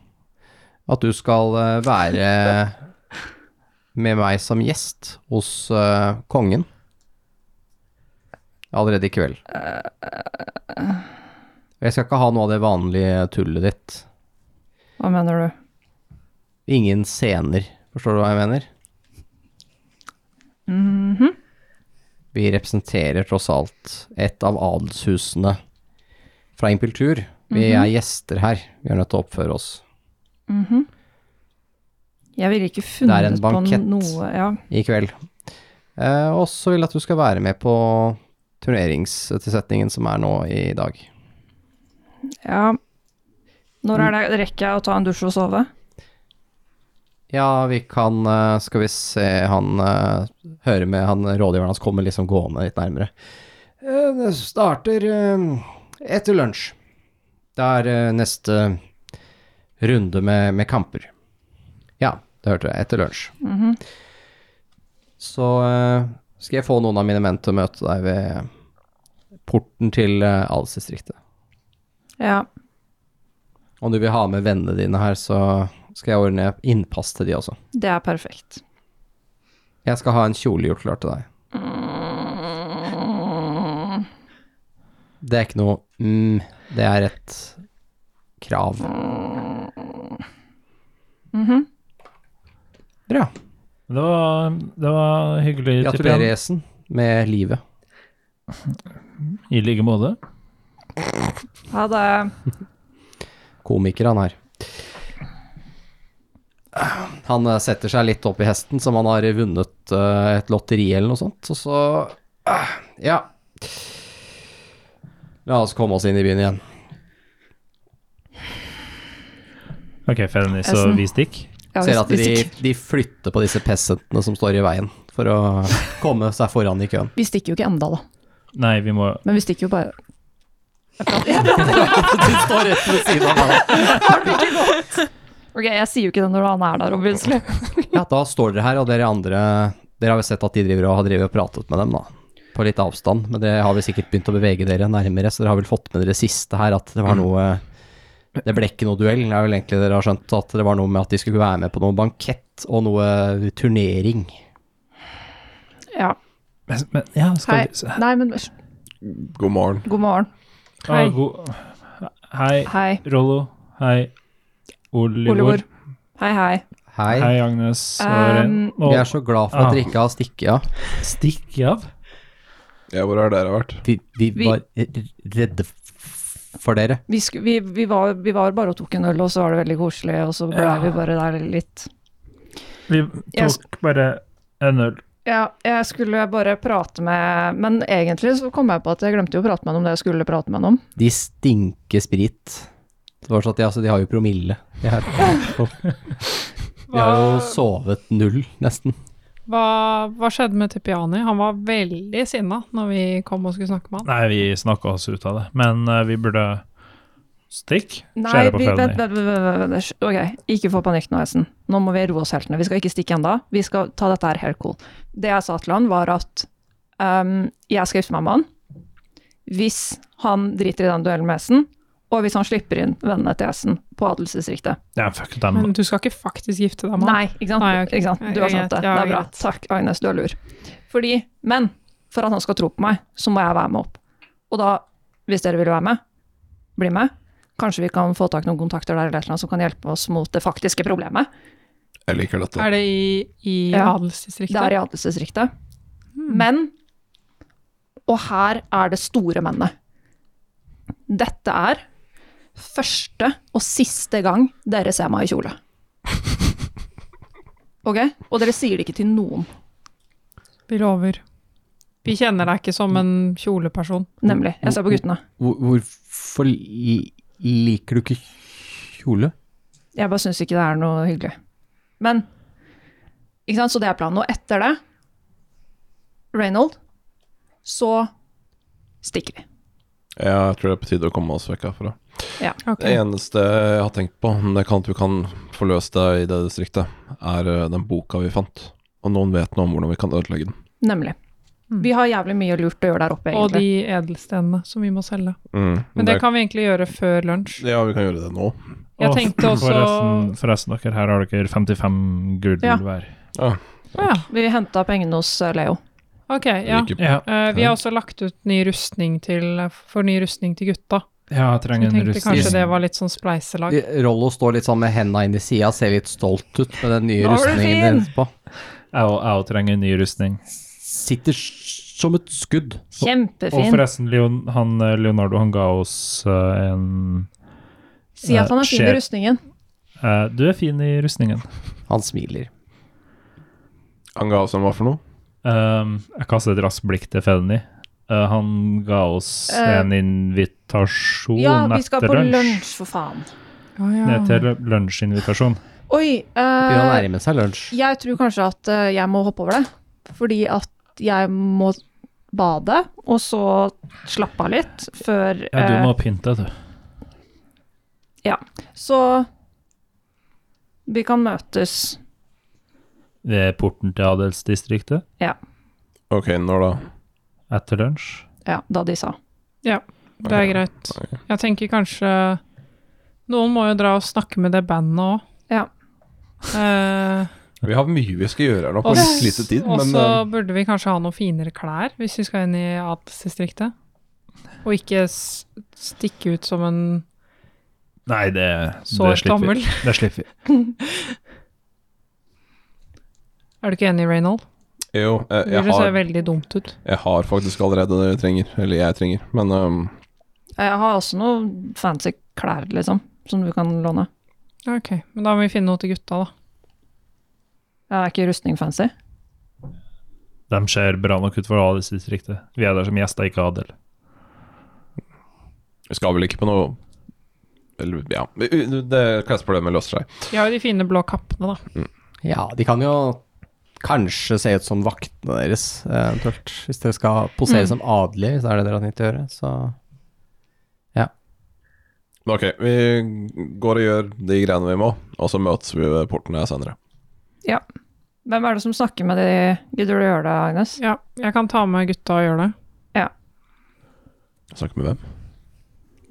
at du skal eh, være med meg som gjest hos eh, kongen. Allerede i kveld. Jeg skal ikke ha noe av det vanlige tullet ditt. Hva mener du? Ingen scener, forstår du hva jeg mener? Mhm. Vi representerer tross alt et av adelshusene fra Impultur. Vi er gjester her. Vi er nødt til å oppføre oss. Mhm. Jeg ville ikke Det er en funnet på bankett. noe ja. i kveld. Eh, og så vil jeg at du skal være med på turneringstilsetningen som er nå i dag. ja. Når er det rekker jeg å ta en dusj og sove? Ja, vi kan eh, Skal vi se Han eh, hører med han rådgiveren hans kommer liksom gående litt nærmere. Eh, det starter eh, etter lunsj. Det er eh, neste runde med, med kamper. Ja, det hørte jeg. Etter lunsj. Mhm. Så eh, skal jeg få noen av mine menn til å møte deg ved porten til uh, adelsdistriktet. Ja. Om du vil ha med vennene dine her, så skal jeg ordne innpass til de også. Det er perfekt. Jeg skal ha en kjole gjort klar til deg. Mm. Det er ikke noe mm, det er et krav. Mhm. Bra. Det var, det var hyggelig. Gratulerer, Tipian. Esen, med livet. I like måte. Ha det. Komiker han er. Han eh, setter seg litt opp i hesten, som han har vunnet eh, et lotteri eller noe sånt, og så ah, Ja. La oss komme oss inn i byen igjen. OK, Felony, så Esen. vi stikker. Ja, Ser at vi, vi, de, stikker, de flytter på disse peasantene som står i veien, for å komme seg foran i køen. vi stikker jo ikke enda, da. Nei, vi må Men vi stikker jo <laughs> bare Du står rett ved siden av meg. Ok, jeg sier jo ikke det når han er der, obviously. Ja, da står dere her, og dere andre Dere har jo sett at de driver og har drevet og pratet med dem, da. På litt avstand, men det har vel sikkert begynt å bevege dere nærmere, så dere har vel fått med dere siste her at det var noe Det ble ikke noe duell, det er vel egentlig dere har skjønt at det var noe med at de skulle være med på noe bankett og noe turnering. Ja. Men, men ja, skal Hei. vi se. Nei, men God morgen. god morgen. Hei. Hei. Ah, god- Hei, Hei, Rollo. Hei, Olivor. Olivor. Hei, hei. Hei. Hei, Agnes. og Um, Ren. Og Vi er så glad for at Ah. dere ikke har stikket av. stikk av. Ja, hvor har dere vært? Vi, vi Vi- var redde f- for dere. Vi, sku, vi, vi, var, vi var bare og tok en øl, og så var det veldig koselig, og så ble Ja. vi bare der litt. Vi Jeg tok bare en øl. Ja, jeg skulle bare prate med Men egentlig så kom jeg på at jeg glemte jo å prate med han om det jeg skulle prate med han om. De stinker sprit. Det var sånn at de, altså, de har jo promille. De, <laughs> er, de har jo sovet null, nesten. Hva, hva skjedde med Tipiani? Han var veldig sinna når vi kom og skulle snakke med han. Nei, vi snakka oss ut av det, men eh, vi burde Stikk? Nei, Skjære på vi, vent, vent, Felony. vent, vent, vent, vent. Ok, ikke få panikk nå, Esen. Nå må vi roe oss helt ned. Vi skal ikke stikke ennå. Vi skal ta dette her helt cool. Det jeg sa til han, var at ehm, jeg skal gifte meg med han hvis han driter i den duellen med Esen, og hvis han slipper inn vennene til Esen på adelsdistriktet. Ja, fuck Mm. dem. Men du skal ikke faktisk gifte deg med han. Nei, ikke sant? Nei, ok. ikke sant? Du har Ja, skjønt det. greit. det Ja, er bra. greit. Takk, Agnes, du er lur. Fordi, men for at han skal tro på meg, så må jeg være med opp. Og da, hvis dere vil være med, bli med. Kanskje vi kan få tak i noen kontakter der eller et eller annet som kan hjelpe oss mot det faktiske problemet. Jeg liker dette. Er det i, i Ja, adelsdistriktet? Det er i adelsdistriktet. Hmm. Men Og her er det store mennet. Dette er første og siste gang dere ser meg i kjole. <laughs> Ok? Og dere sier det ikke til noen. Vi lover. Vi kjenner deg ikke som en kjoleperson. Nemlig. Jeg ser på guttene. Hvor, hvorfor li- liker du ikke kjole? Jeg bare syns ikke det er noe hyggelig. Men ikke sant? Så det er planen. Og etter det, Reynold, så stikker vi. Ja, jeg tror det er på tide å komme oss vekk herfra. Ok. Det eneste jeg har tenkt på, det kan at vi kan forløst deg i det distriktet, er eh, den boka vi fant. Og noen vet noe om hvordan vi kan ødelegge den. Nemlig. Mm. Vi har jævlig mye lurt å gjøre der oppe, Og egentlig. de edelstenene som vi må selge. Mm, Men det kan vi egentlig gjøre før lunsj. Ja, vi kan gjøre det nå. Jeg Og tenkte også- Forresten, forresten, dere, her har dere 55 gull Ja. hver. Å ja, Vi henta pengene hos eh, Leo. ok. Ja. Ikke- Ja, Eh, vi har også lagt ut ny rustning til, for ny rustning til gutta. ja jeg Så jeg trenger en tenkte rustning. kanskje det var litt sånn spleiselag. Rollo står litt sånn med henda inn i sida, ser litt stolt ut med den nye Nå er du rustningen fin! hennes på. Jeg og- jeg og trenger en ny rustning. Sitter s- som et skudd. Og Kjempefin. forresten, Leon, han, eh, Leonardo han ga oss eh, en Si at han er fin Skjer. i rustningen. eh, Du er fin i rustningen. Han smiler. Han ga oss en hva for noe? Um, jeg kaster et raskt blikk til Felny. Eh, han ga oss Eh, en invitasjon Ja, vi skal etter på lunsj. lunsj, for faen. Å Nei, ja. til lunsjinvitasjon. Oi, Begynner å eh, nærme seg lunsj. jeg tror kanskje at eh, jeg må hoppe over det. Fordi at jeg må bade, og så slappe av litt før Ja, du eh, må pynte, du. Så vi kan møtes. Ved porten til adelsdistriktet Ok, når da? etter lunsj. Ja, da de sa. Det er greit. Jeg tenker kanskje Noen må jo dra og snakke med det bandet Eh, òg. Ja. Vi har mye vi skal gjøre her nå på og litt lite tid, men så eh, burde vi kanskje ha noen finere klær hvis vi skal inn i adelsdistriktet. Og ikke s stikke ut som en Nei, det, det sårt slipper gammel. vi. <laughs> Det slipper vi. Er du ikke enig, Reynold? jo, jeg, Eh, jeg, Det ser har, veldig dumt ut. jeg har faktisk allerede det jeg trenger, eller jeg trenger, men ehm, Jeg har også noen fancy klær, liksom, som du kan låne. Ok, men da må vi finne noe til gutta, da. Jeg er ikke rustning fancy. De ser bra nok ut for adelsdistriktet. Vi er der som gjester, ikke adel. <laughs> vi skal vel ikke på noe Eller, ja vi- u- Det klesproblemet løser seg. De har jo de fine blå kappene, da. Ja, de kan jo kanskje se ut som vaktene deres, eventuelt. Hvis dere skal Mm. posere som adelige, hvis det er det dere har tenkt å gjøre, så Men ok, vi går og gjør de greiene vi må, og så møtes vi ved porten her senere. Hvem er det som snakker med de Gidder du å gjøre det, Agnes? Ja, jeg kan ta med gutta og gjøre det. Snakke med hvem?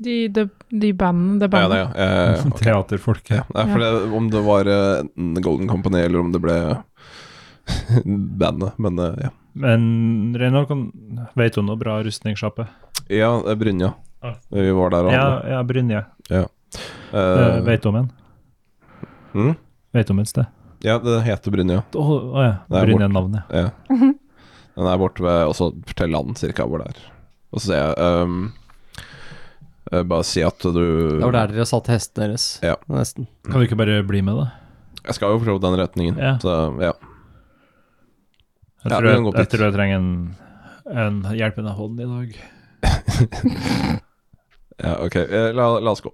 De, de, de bandene, det Ja, det, bandet. ja. <laughs> Eh, ok. Teaterfolket. Ja, nei, for det, om det var eh, enten Golden Company, eller om det ble <laughs> bandet, men eh, ja. Men Reynold, kan- vet du noe bra rustningssjappe? Ja, eh, Brynja. Ja. Vi var der og Ah. Ja, ja, Brynje. Eh, Eh, vet du om en? Mm? Vet du om et sted? Ja, det heter Brynja. Å å ja, Det er Brynje er navnet. Ja. Den er borte ved Og så fortell han cirka hvor det er. Og så sier jeg ehm, eh, Bare si at du Det var der dere satte hestene deres, Ja. nesten. Kan du ikke bare bli med, da? Jeg skal jo prøve den retningen. Ja. Så ja. Ja, Jeg tror, vi kan jeg, gå jeg, dit. tror jeg trenger en, en hjelpende hånd i dag. ja ok, eh, la, la oss gå.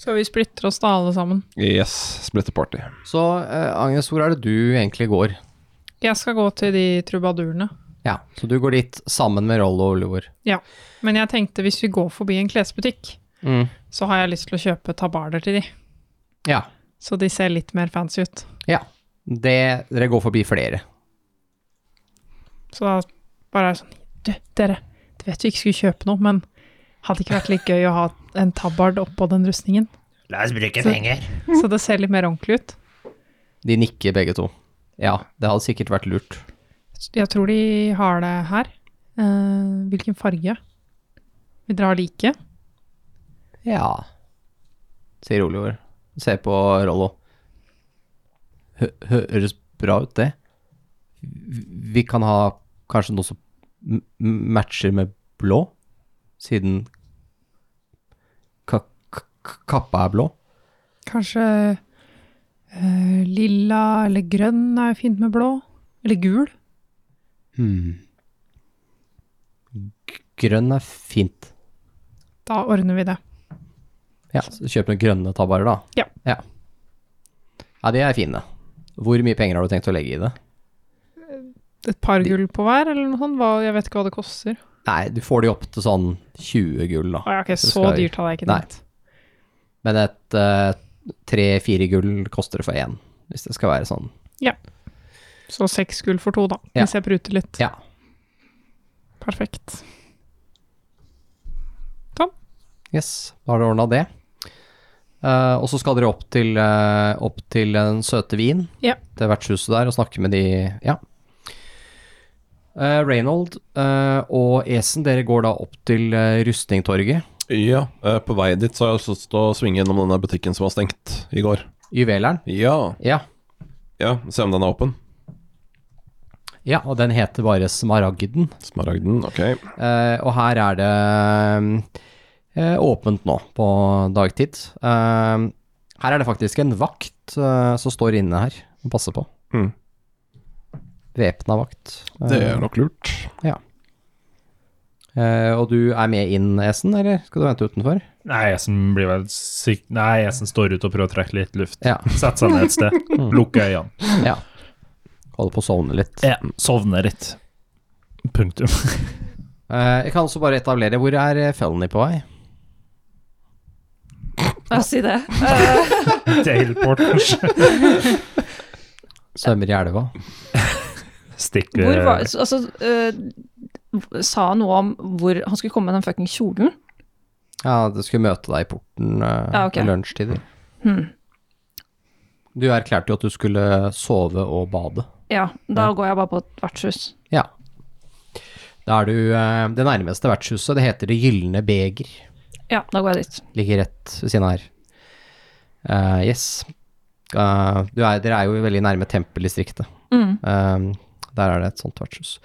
Skal vi splitte oss da, alle sammen? Yes, splitter party. Så eh, Agnes, hvor er det du egentlig går? Jeg skal gå til de trubadurene. Ja, så du går dit sammen med Rollo og Oliver. Men jeg tenkte hvis vi går forbi en klesbutikk, så har jeg lyst til å kjøpe tabarder til de. Ja. Så de ser litt mer fancy ut. Det, dere går forbi flere. Så da bare er det sånn Du, dere, du vet vi ikke skulle kjøpe noe, men hadde det ikke vært litt gøy å ha en tabard oppå den rustningen? La oss bruke Så- penger. Så det ser litt mer ordentlig ut. De nikker begge to. Ja, det hadde sikkert vært lurt. Jeg tror de har det her. Eh, hvilken farge? Vil dere ha like? Ja, sier Oliver. Se på Rollo. Hø høres bra ut, det. Vi- Vi kan ha kanskje noe som m- m- matcher med blå, siden ka ka ka- kappa er blå. Kanskje eh, lilla eller grønn er fint med blå? Eller gul? G- Grønn er fint. Da ordner vi det. Ja, så kjøp noen grønne tabbarer, da. Ja. ja. Ja, de er fine. Hvor mye penger har du tenkt å legge i det? Et par gull på hver, eller noe sånt? Hva, jeg vet ikke hva det koster. Nei, du får de opp til sånn 20 gull, da. Å, ja, ok, Det så skal jeg- dyrt hadde jeg ikke Nei. tenkt. Men et eh, Tre-fire gull koster det for én, hvis det skal være sånn. Så seks gull for to, da, Ja. hvis jeg pruter litt. Ja. Perfekt. Yes, da har du ordna det. Eh, og så skal dere opp til, eh, opp til den søte vin, Ja. til vertshuset der, og snakke med de Ja. Eh, Reynold eh, og Esen, dere går da opp til eh, Rustningtorget, Ja, eh, på vei dit så har jeg også lyst til å svinge innom denne butikken som var stengt i går. juveleren. Ja, Ja. ja, se om den er åpen. ja, og den heter bare Smaragden. Smaragden, ok. Eh, og her er det eh, åpent nå på dagtid. Eh, her er det faktisk en vakt eh, som står inne her og passer på. Mm. Væpna vakt. Eh, Det er nok lurt. eh, og du er med inn, Esen, eller skal du vente utenfor? Nei, jeg som blir vel syk Nei, jeg som står ute og prøver å trekke litt luft. Ja. Sette seg ned et <laughs> sted, lukke øynene. Holder på å sovne litt. Ja, sovne litt. Punktum. <laughs> Eh, jeg kan også bare etablere hvor er eh, Felony på vei? Ja, si det. Dale Porters. Svømmer i elva. Stikk Hvor eh, var Altså, eh, sa han noe om hvor han skulle komme med den fucking kjolen? Ja, du skulle møte deg i porten eh, Ja, ok. i lunsjtider. Hmm. Du erklærte jo at du skulle sove og bade. Ja, da går jeg bare på et vertshus. Ja. Da er du eh, det nærmeste vertshuset. Det heter Det gylne beger. Ja, da går jeg dit. Ligger rett ved siden av her. Eh, yes. Eh, du er, dere er jo veldig nærme tempeldistriktet. Mm. Eh, der er det et sånt vertshus.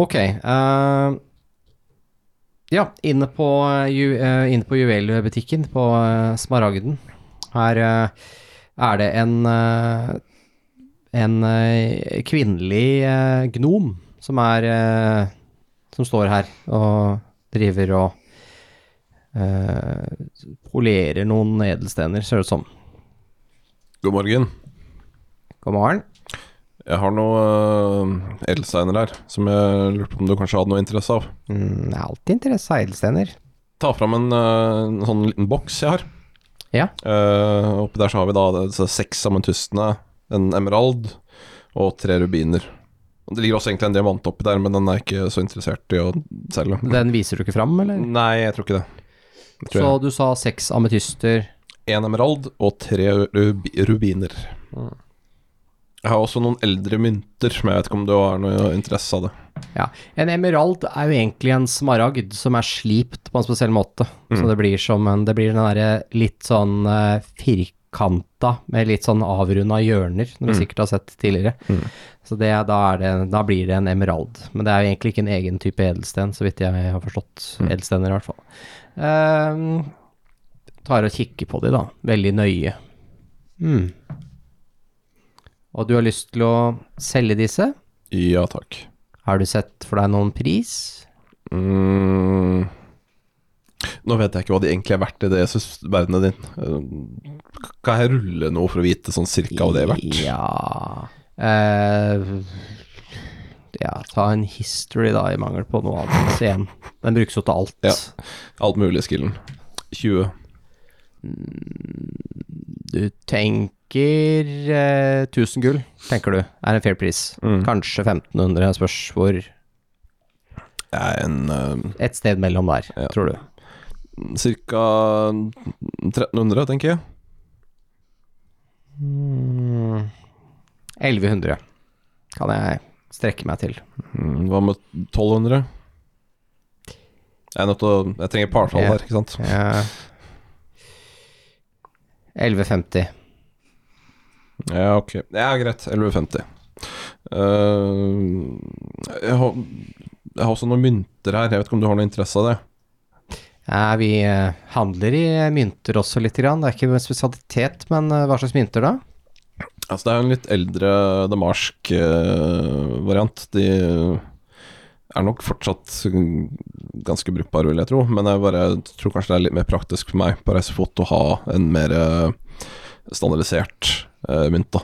Ok. eh, ja, inne på, eh, ju, eh, inne på juvelbutikken på eh, Smaragden. Her eh, er det en eh, en eh, kvinnelig eh, gnom som er eh, som står her og driver og eh, polerer noen edelstener, ser det ut som. God morgen. God morgen. Jeg har noen uh, edelsteiner her som jeg lurte på om du kanskje hadde noe interesse av. Mm, jeg har alltid interesse av edelstener. Ta fram en, eh, en sånn liten boks jeg har. Ja. Eh, oppi der så har vi da det- så seks amentystene, en emerald og tre rubiner. Og Det ligger også egentlig en diamant oppi der, men den er jeg ikke så interessert i å selge. Den viser du ikke fram, eller? Nei, jeg tror ikke det. Jeg Så tror du sa seks ametyster. En emerald og tre rubi rubiner. Jeg har også noen eldre mynter, men jeg vet ikke om du har noe interesse av det. En emerald er jo egentlig en smaragd som er slipt på en spesiell måte. Så det blir som en Det blir den derre litt sånn eh, firkanta med litt sånn avrunda hjørner, som du sikkert har sett tidligere. Så det, er- da, er det, da blir det en emerald. Men det er jo egentlig ikke en egen type edelsten, så vidt jeg har forstått. Edelstener, i hvert fall. Ehm, tar og kikker på de, da. Veldig nøye. Mm. Og du har lyst til å selge disse? Ja takk. Har du sett for deg noen pris? Mm. Nå vet jeg ikke hva de egentlig er verdt i det synes- verdenen din. Eh, Kan jeg rulle noe for å vite sånn cirka hva det er verdt? Ja eh, Ja, ta en history, da, i mangel på noe annet. Så igjen, den brukes jo til alt. Ja. Alt mulig i skillen. 20. Du tenker eh, 1000 gull, tenker du, er en fair pris. Mm. Kanskje 1500, spørs hvor. Jeg er en eh, Et sted mellom der, Ja. tror du. cirka 1300, tenker jeg. 1100 kan jeg strekke meg til. Mm, Hva med 1200? Jeg er nødt til å Jeg trenger partall Ja. her, ikke sant? <laughs> Eh, 1150. Ja, ok. Ja, greit. 1150. Eh, jeg, har, jeg har også noen mynter her. Jeg vet ikke om du har noe interesse av det? Ja, vi eh, handler i eh, mynter også lite grann. Det er ikke en spesialitet, men eh, hva slags mynter da? Altså, det er jo en litt eldre damarsk eh, variant. De er nok fortsatt ganske brukbare, vil jeg tro. Men jeg bare tror kanskje det er litt mer praktisk for meg på reisefot å ha en mer eh, standardisert eh, mynt, da.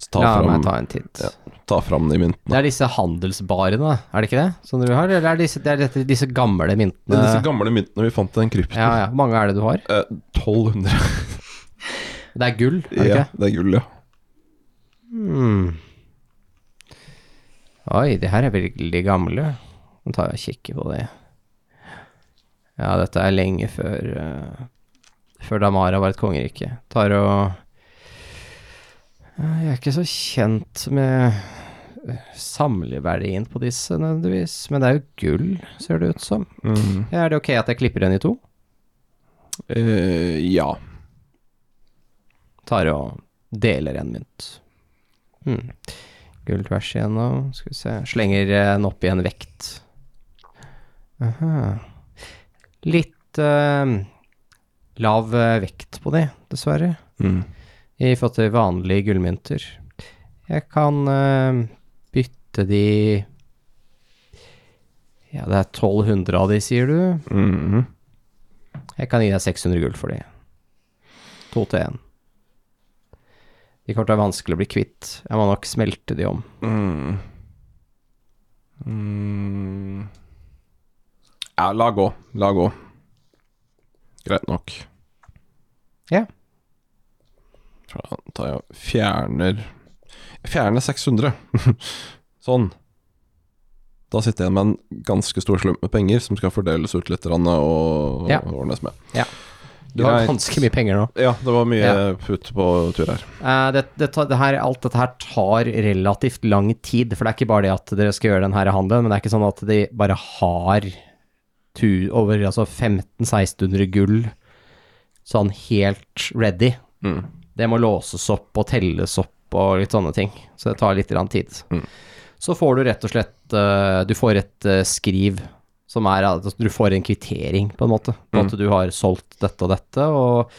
Så ta, La meg fram, ta en titt. Ja. ta fram de myntene. Det er disse handelsbarene, er det ikke det? Som du har, eller er disse, det er dette, disse gamle myntene? Eh, Det er disse gamle myntene vi fant i den krypten. ja, ja. Hvor mange er det du har? Eh, 1200. Det er gull, er det <laughs> Ja, ikke? det er gull, ja. Hmm. Oi, de her er virkelig gamle. Nå tar jeg og kikker på det. Ja, dette er lenge før eh, Før Damara var et kongerike. Tar og eh, Jeg er ikke så kjent med eh, samleverdien på disse, nødvendigvis, men det er jo gull, ser det ut som. Mm. Ja, Er det ok at jeg klipper den i to? Eh, ja. Tar og deler en mynt. Hmm. Gull tvers igjennom. Skal vi se Slenger eh, den opp i en vekt. Aha. Litt eh, lav eh, vekt på de, dessverre. Mm. I forhold til vanlige gullmynter. Jeg kan eh, bytte de Ja, det er 1200 av de, sier du. Mhm. Jeg kan gi deg 600 gull for de. To til én. De kommer til å være vanskelig å bli kvitt. Jeg må nok smelte de om. Mm. Mm. Ja, la gå. La gå. Greit nok. Ja. Da tar jeg og fjerner Jeg fjerner 600. <laughs> sånn. Da sitter jeg med en ganske stor slump med penger som skal fordeles ut litt grann og Ja. ordnes med. Ja. Du har Greit. ganske mye penger nå. Ja, det var mye Ja. put på tur her. Eh, det, det, tar- det her, alt dette her tar relativt lang tid, for det er ikke bare det at dere skal gjøre den her handelen, men det er ikke sånn at de bare har tu, over altså 1500-1600 gull sånn helt ready. Mm. Det må låses opp og telles opp og litt sånne ting, så det tar litt grann tid. Mm. Så får du rett og slett eh, Du får et eh, skriv som er at du får en kvittering, på en måte. På at du har solgt dette og dette, og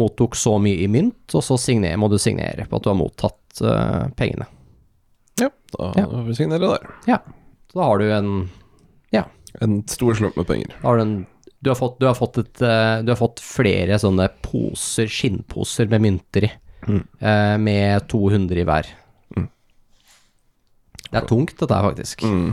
mottok så mye i mynt, og så signer, må du signere på at du har mottatt eh, pengene. Ja, da Ja. får vi signere der. Så da har du en En stor slump med penger. Da har du, en, du, har fått, du, har fått et, eh, du har fått flere sånne poser, skinnposer med mynter i, eh, med 200 i hver. Det er tungt dette her, faktisk. Mm.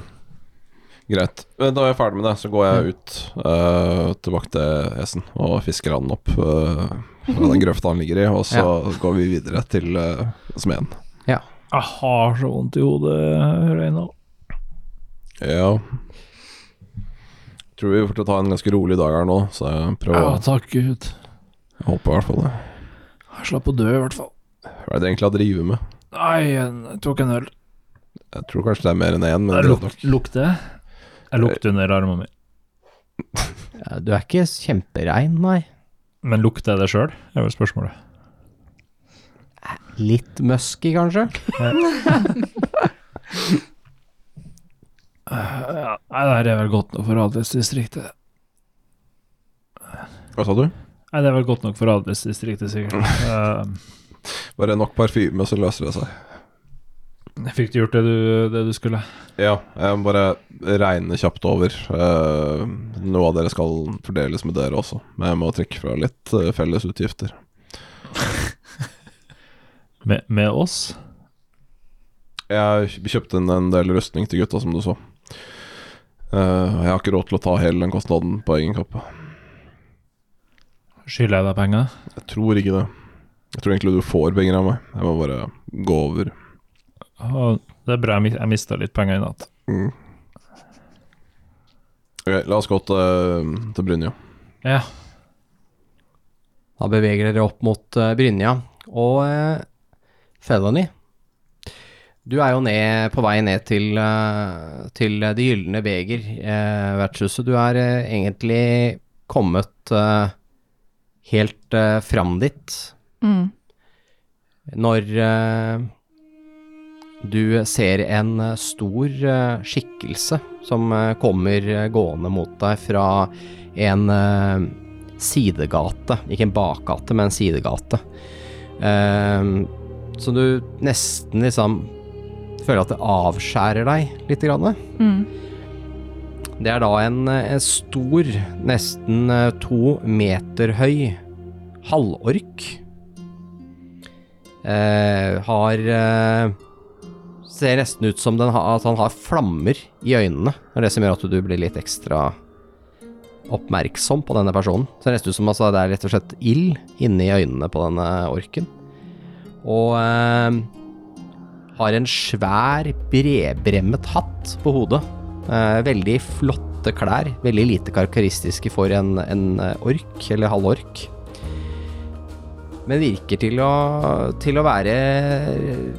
Greit. Men Da er jeg ferdig med det, så går jeg ut eh, tilbake til hesten og fisker han opp eh, fra den grøfta han ligger i, og så går vi videre til eh, smeden. Jeg har så vondt i hodet, hører jeg nå. Ja. Tror vi får til å ta en ganske rolig dag her nå, så jeg prøver å takk Gud. jeg håper i hvert fall det. Jeg slapp å dø, i hvert fall. Hva er det egentlig jeg driver med? Nei, jeg tok en øl. Jeg tror kanskje det er mer enn én, men Jeg greit luk, nok. lukter jeg? Jeg lukter under armen min. Ja, Eh, Du er ikke kjemperein, nei. Men lukter jeg det sjøl? Det er vel spørsmålet. Litt musky, kanskje? Ja, nei, det her er vel godt nok for adelsdistriktet. Hva sa du? Nei, det er vel godt nok for adelsdistriktet, sikkert. <laughs> Eh, Bare nok parfyme, så løser det seg. fikk du gjort det du, det du skulle? Ja, jeg må bare regne kjapt over. eh, noe av dere skal fordeles med dere også, men jeg må trekke fra litt eh, felles utgifter. Med, med oss? Jeg kjøpte inn en del rustning til gutta, som du så. Eh, og jeg har ikke råd til å ta hele den kostnaden på egen kappe. Skylder jeg deg penger? Jeg tror ikke det. Jeg tror egentlig du får penger av meg. Jeg må bare gå over. Å, det er bra, jeg mis- jeg mista litt penger i natt. Mm. Ok, la oss gå til, til Brynja. Ja. Da beveger dere opp mot eh, Brynja. Og eh, Felony, du er jo ned, på vei ned til, eh, til Det gylne beger, eh, vertshuset. Du er eh, egentlig kommet eh, helt eh, fram dit Mm. når eh, du ser en eh, stor eh, skikkelse som eh, kommer eh, gående mot deg fra en eh, sidegate. Ikke en bakgate, men en sidegate. Eh, så du nesten liksom føler at det avskjærer deg litt. Grann. Mm. Det er da en, eh, en stor, nesten eh, to meter høy halvork. Eh, har eh, Ser nesten ut som den ha, at han har flammer i øynene. Det er det som gjør at du blir litt ekstra oppmerksom på denne personen. Så det ser ut som altså, det er rett og slett ild inni øynene på denne orken. Og eh, har en svær, bredbremmet hatt på hodet. Eh, veldig flotte klær. Veldig lite karakteristiske for en, en eh, ork, eller halvork. Men virker til å, til å være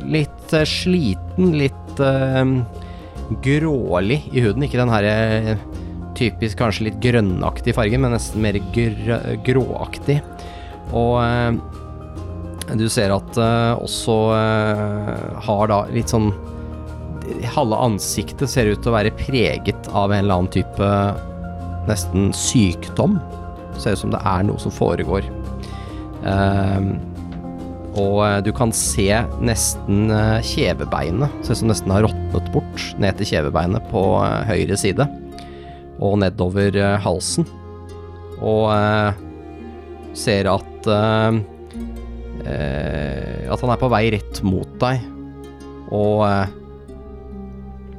litt eh, sliten, litt eh, grålig i huden. Ikke den her eh, typisk kanskje litt grønnaktig fargen, men nesten mer grø gråaktig. Og eh, du ser at eh, også eh, har da litt sånn Halve ansiktet ser ut til å være preget av en eller annen type nesten sykdom. Ser ut som det er noe som foregår. Ehm, og eh, du kan se nesten eh, kjevebeinet. Ser ut som nesten har råtnet bort ned til kjevebeinet på eh, høyre side og nedover eh, halsen. Og eh, ser at eh, eh, At han er på vei rett mot deg. Og eh,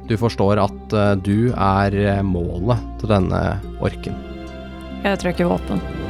du forstår at eh, du er eh, målet til denne orken. Jeg trekker våpen.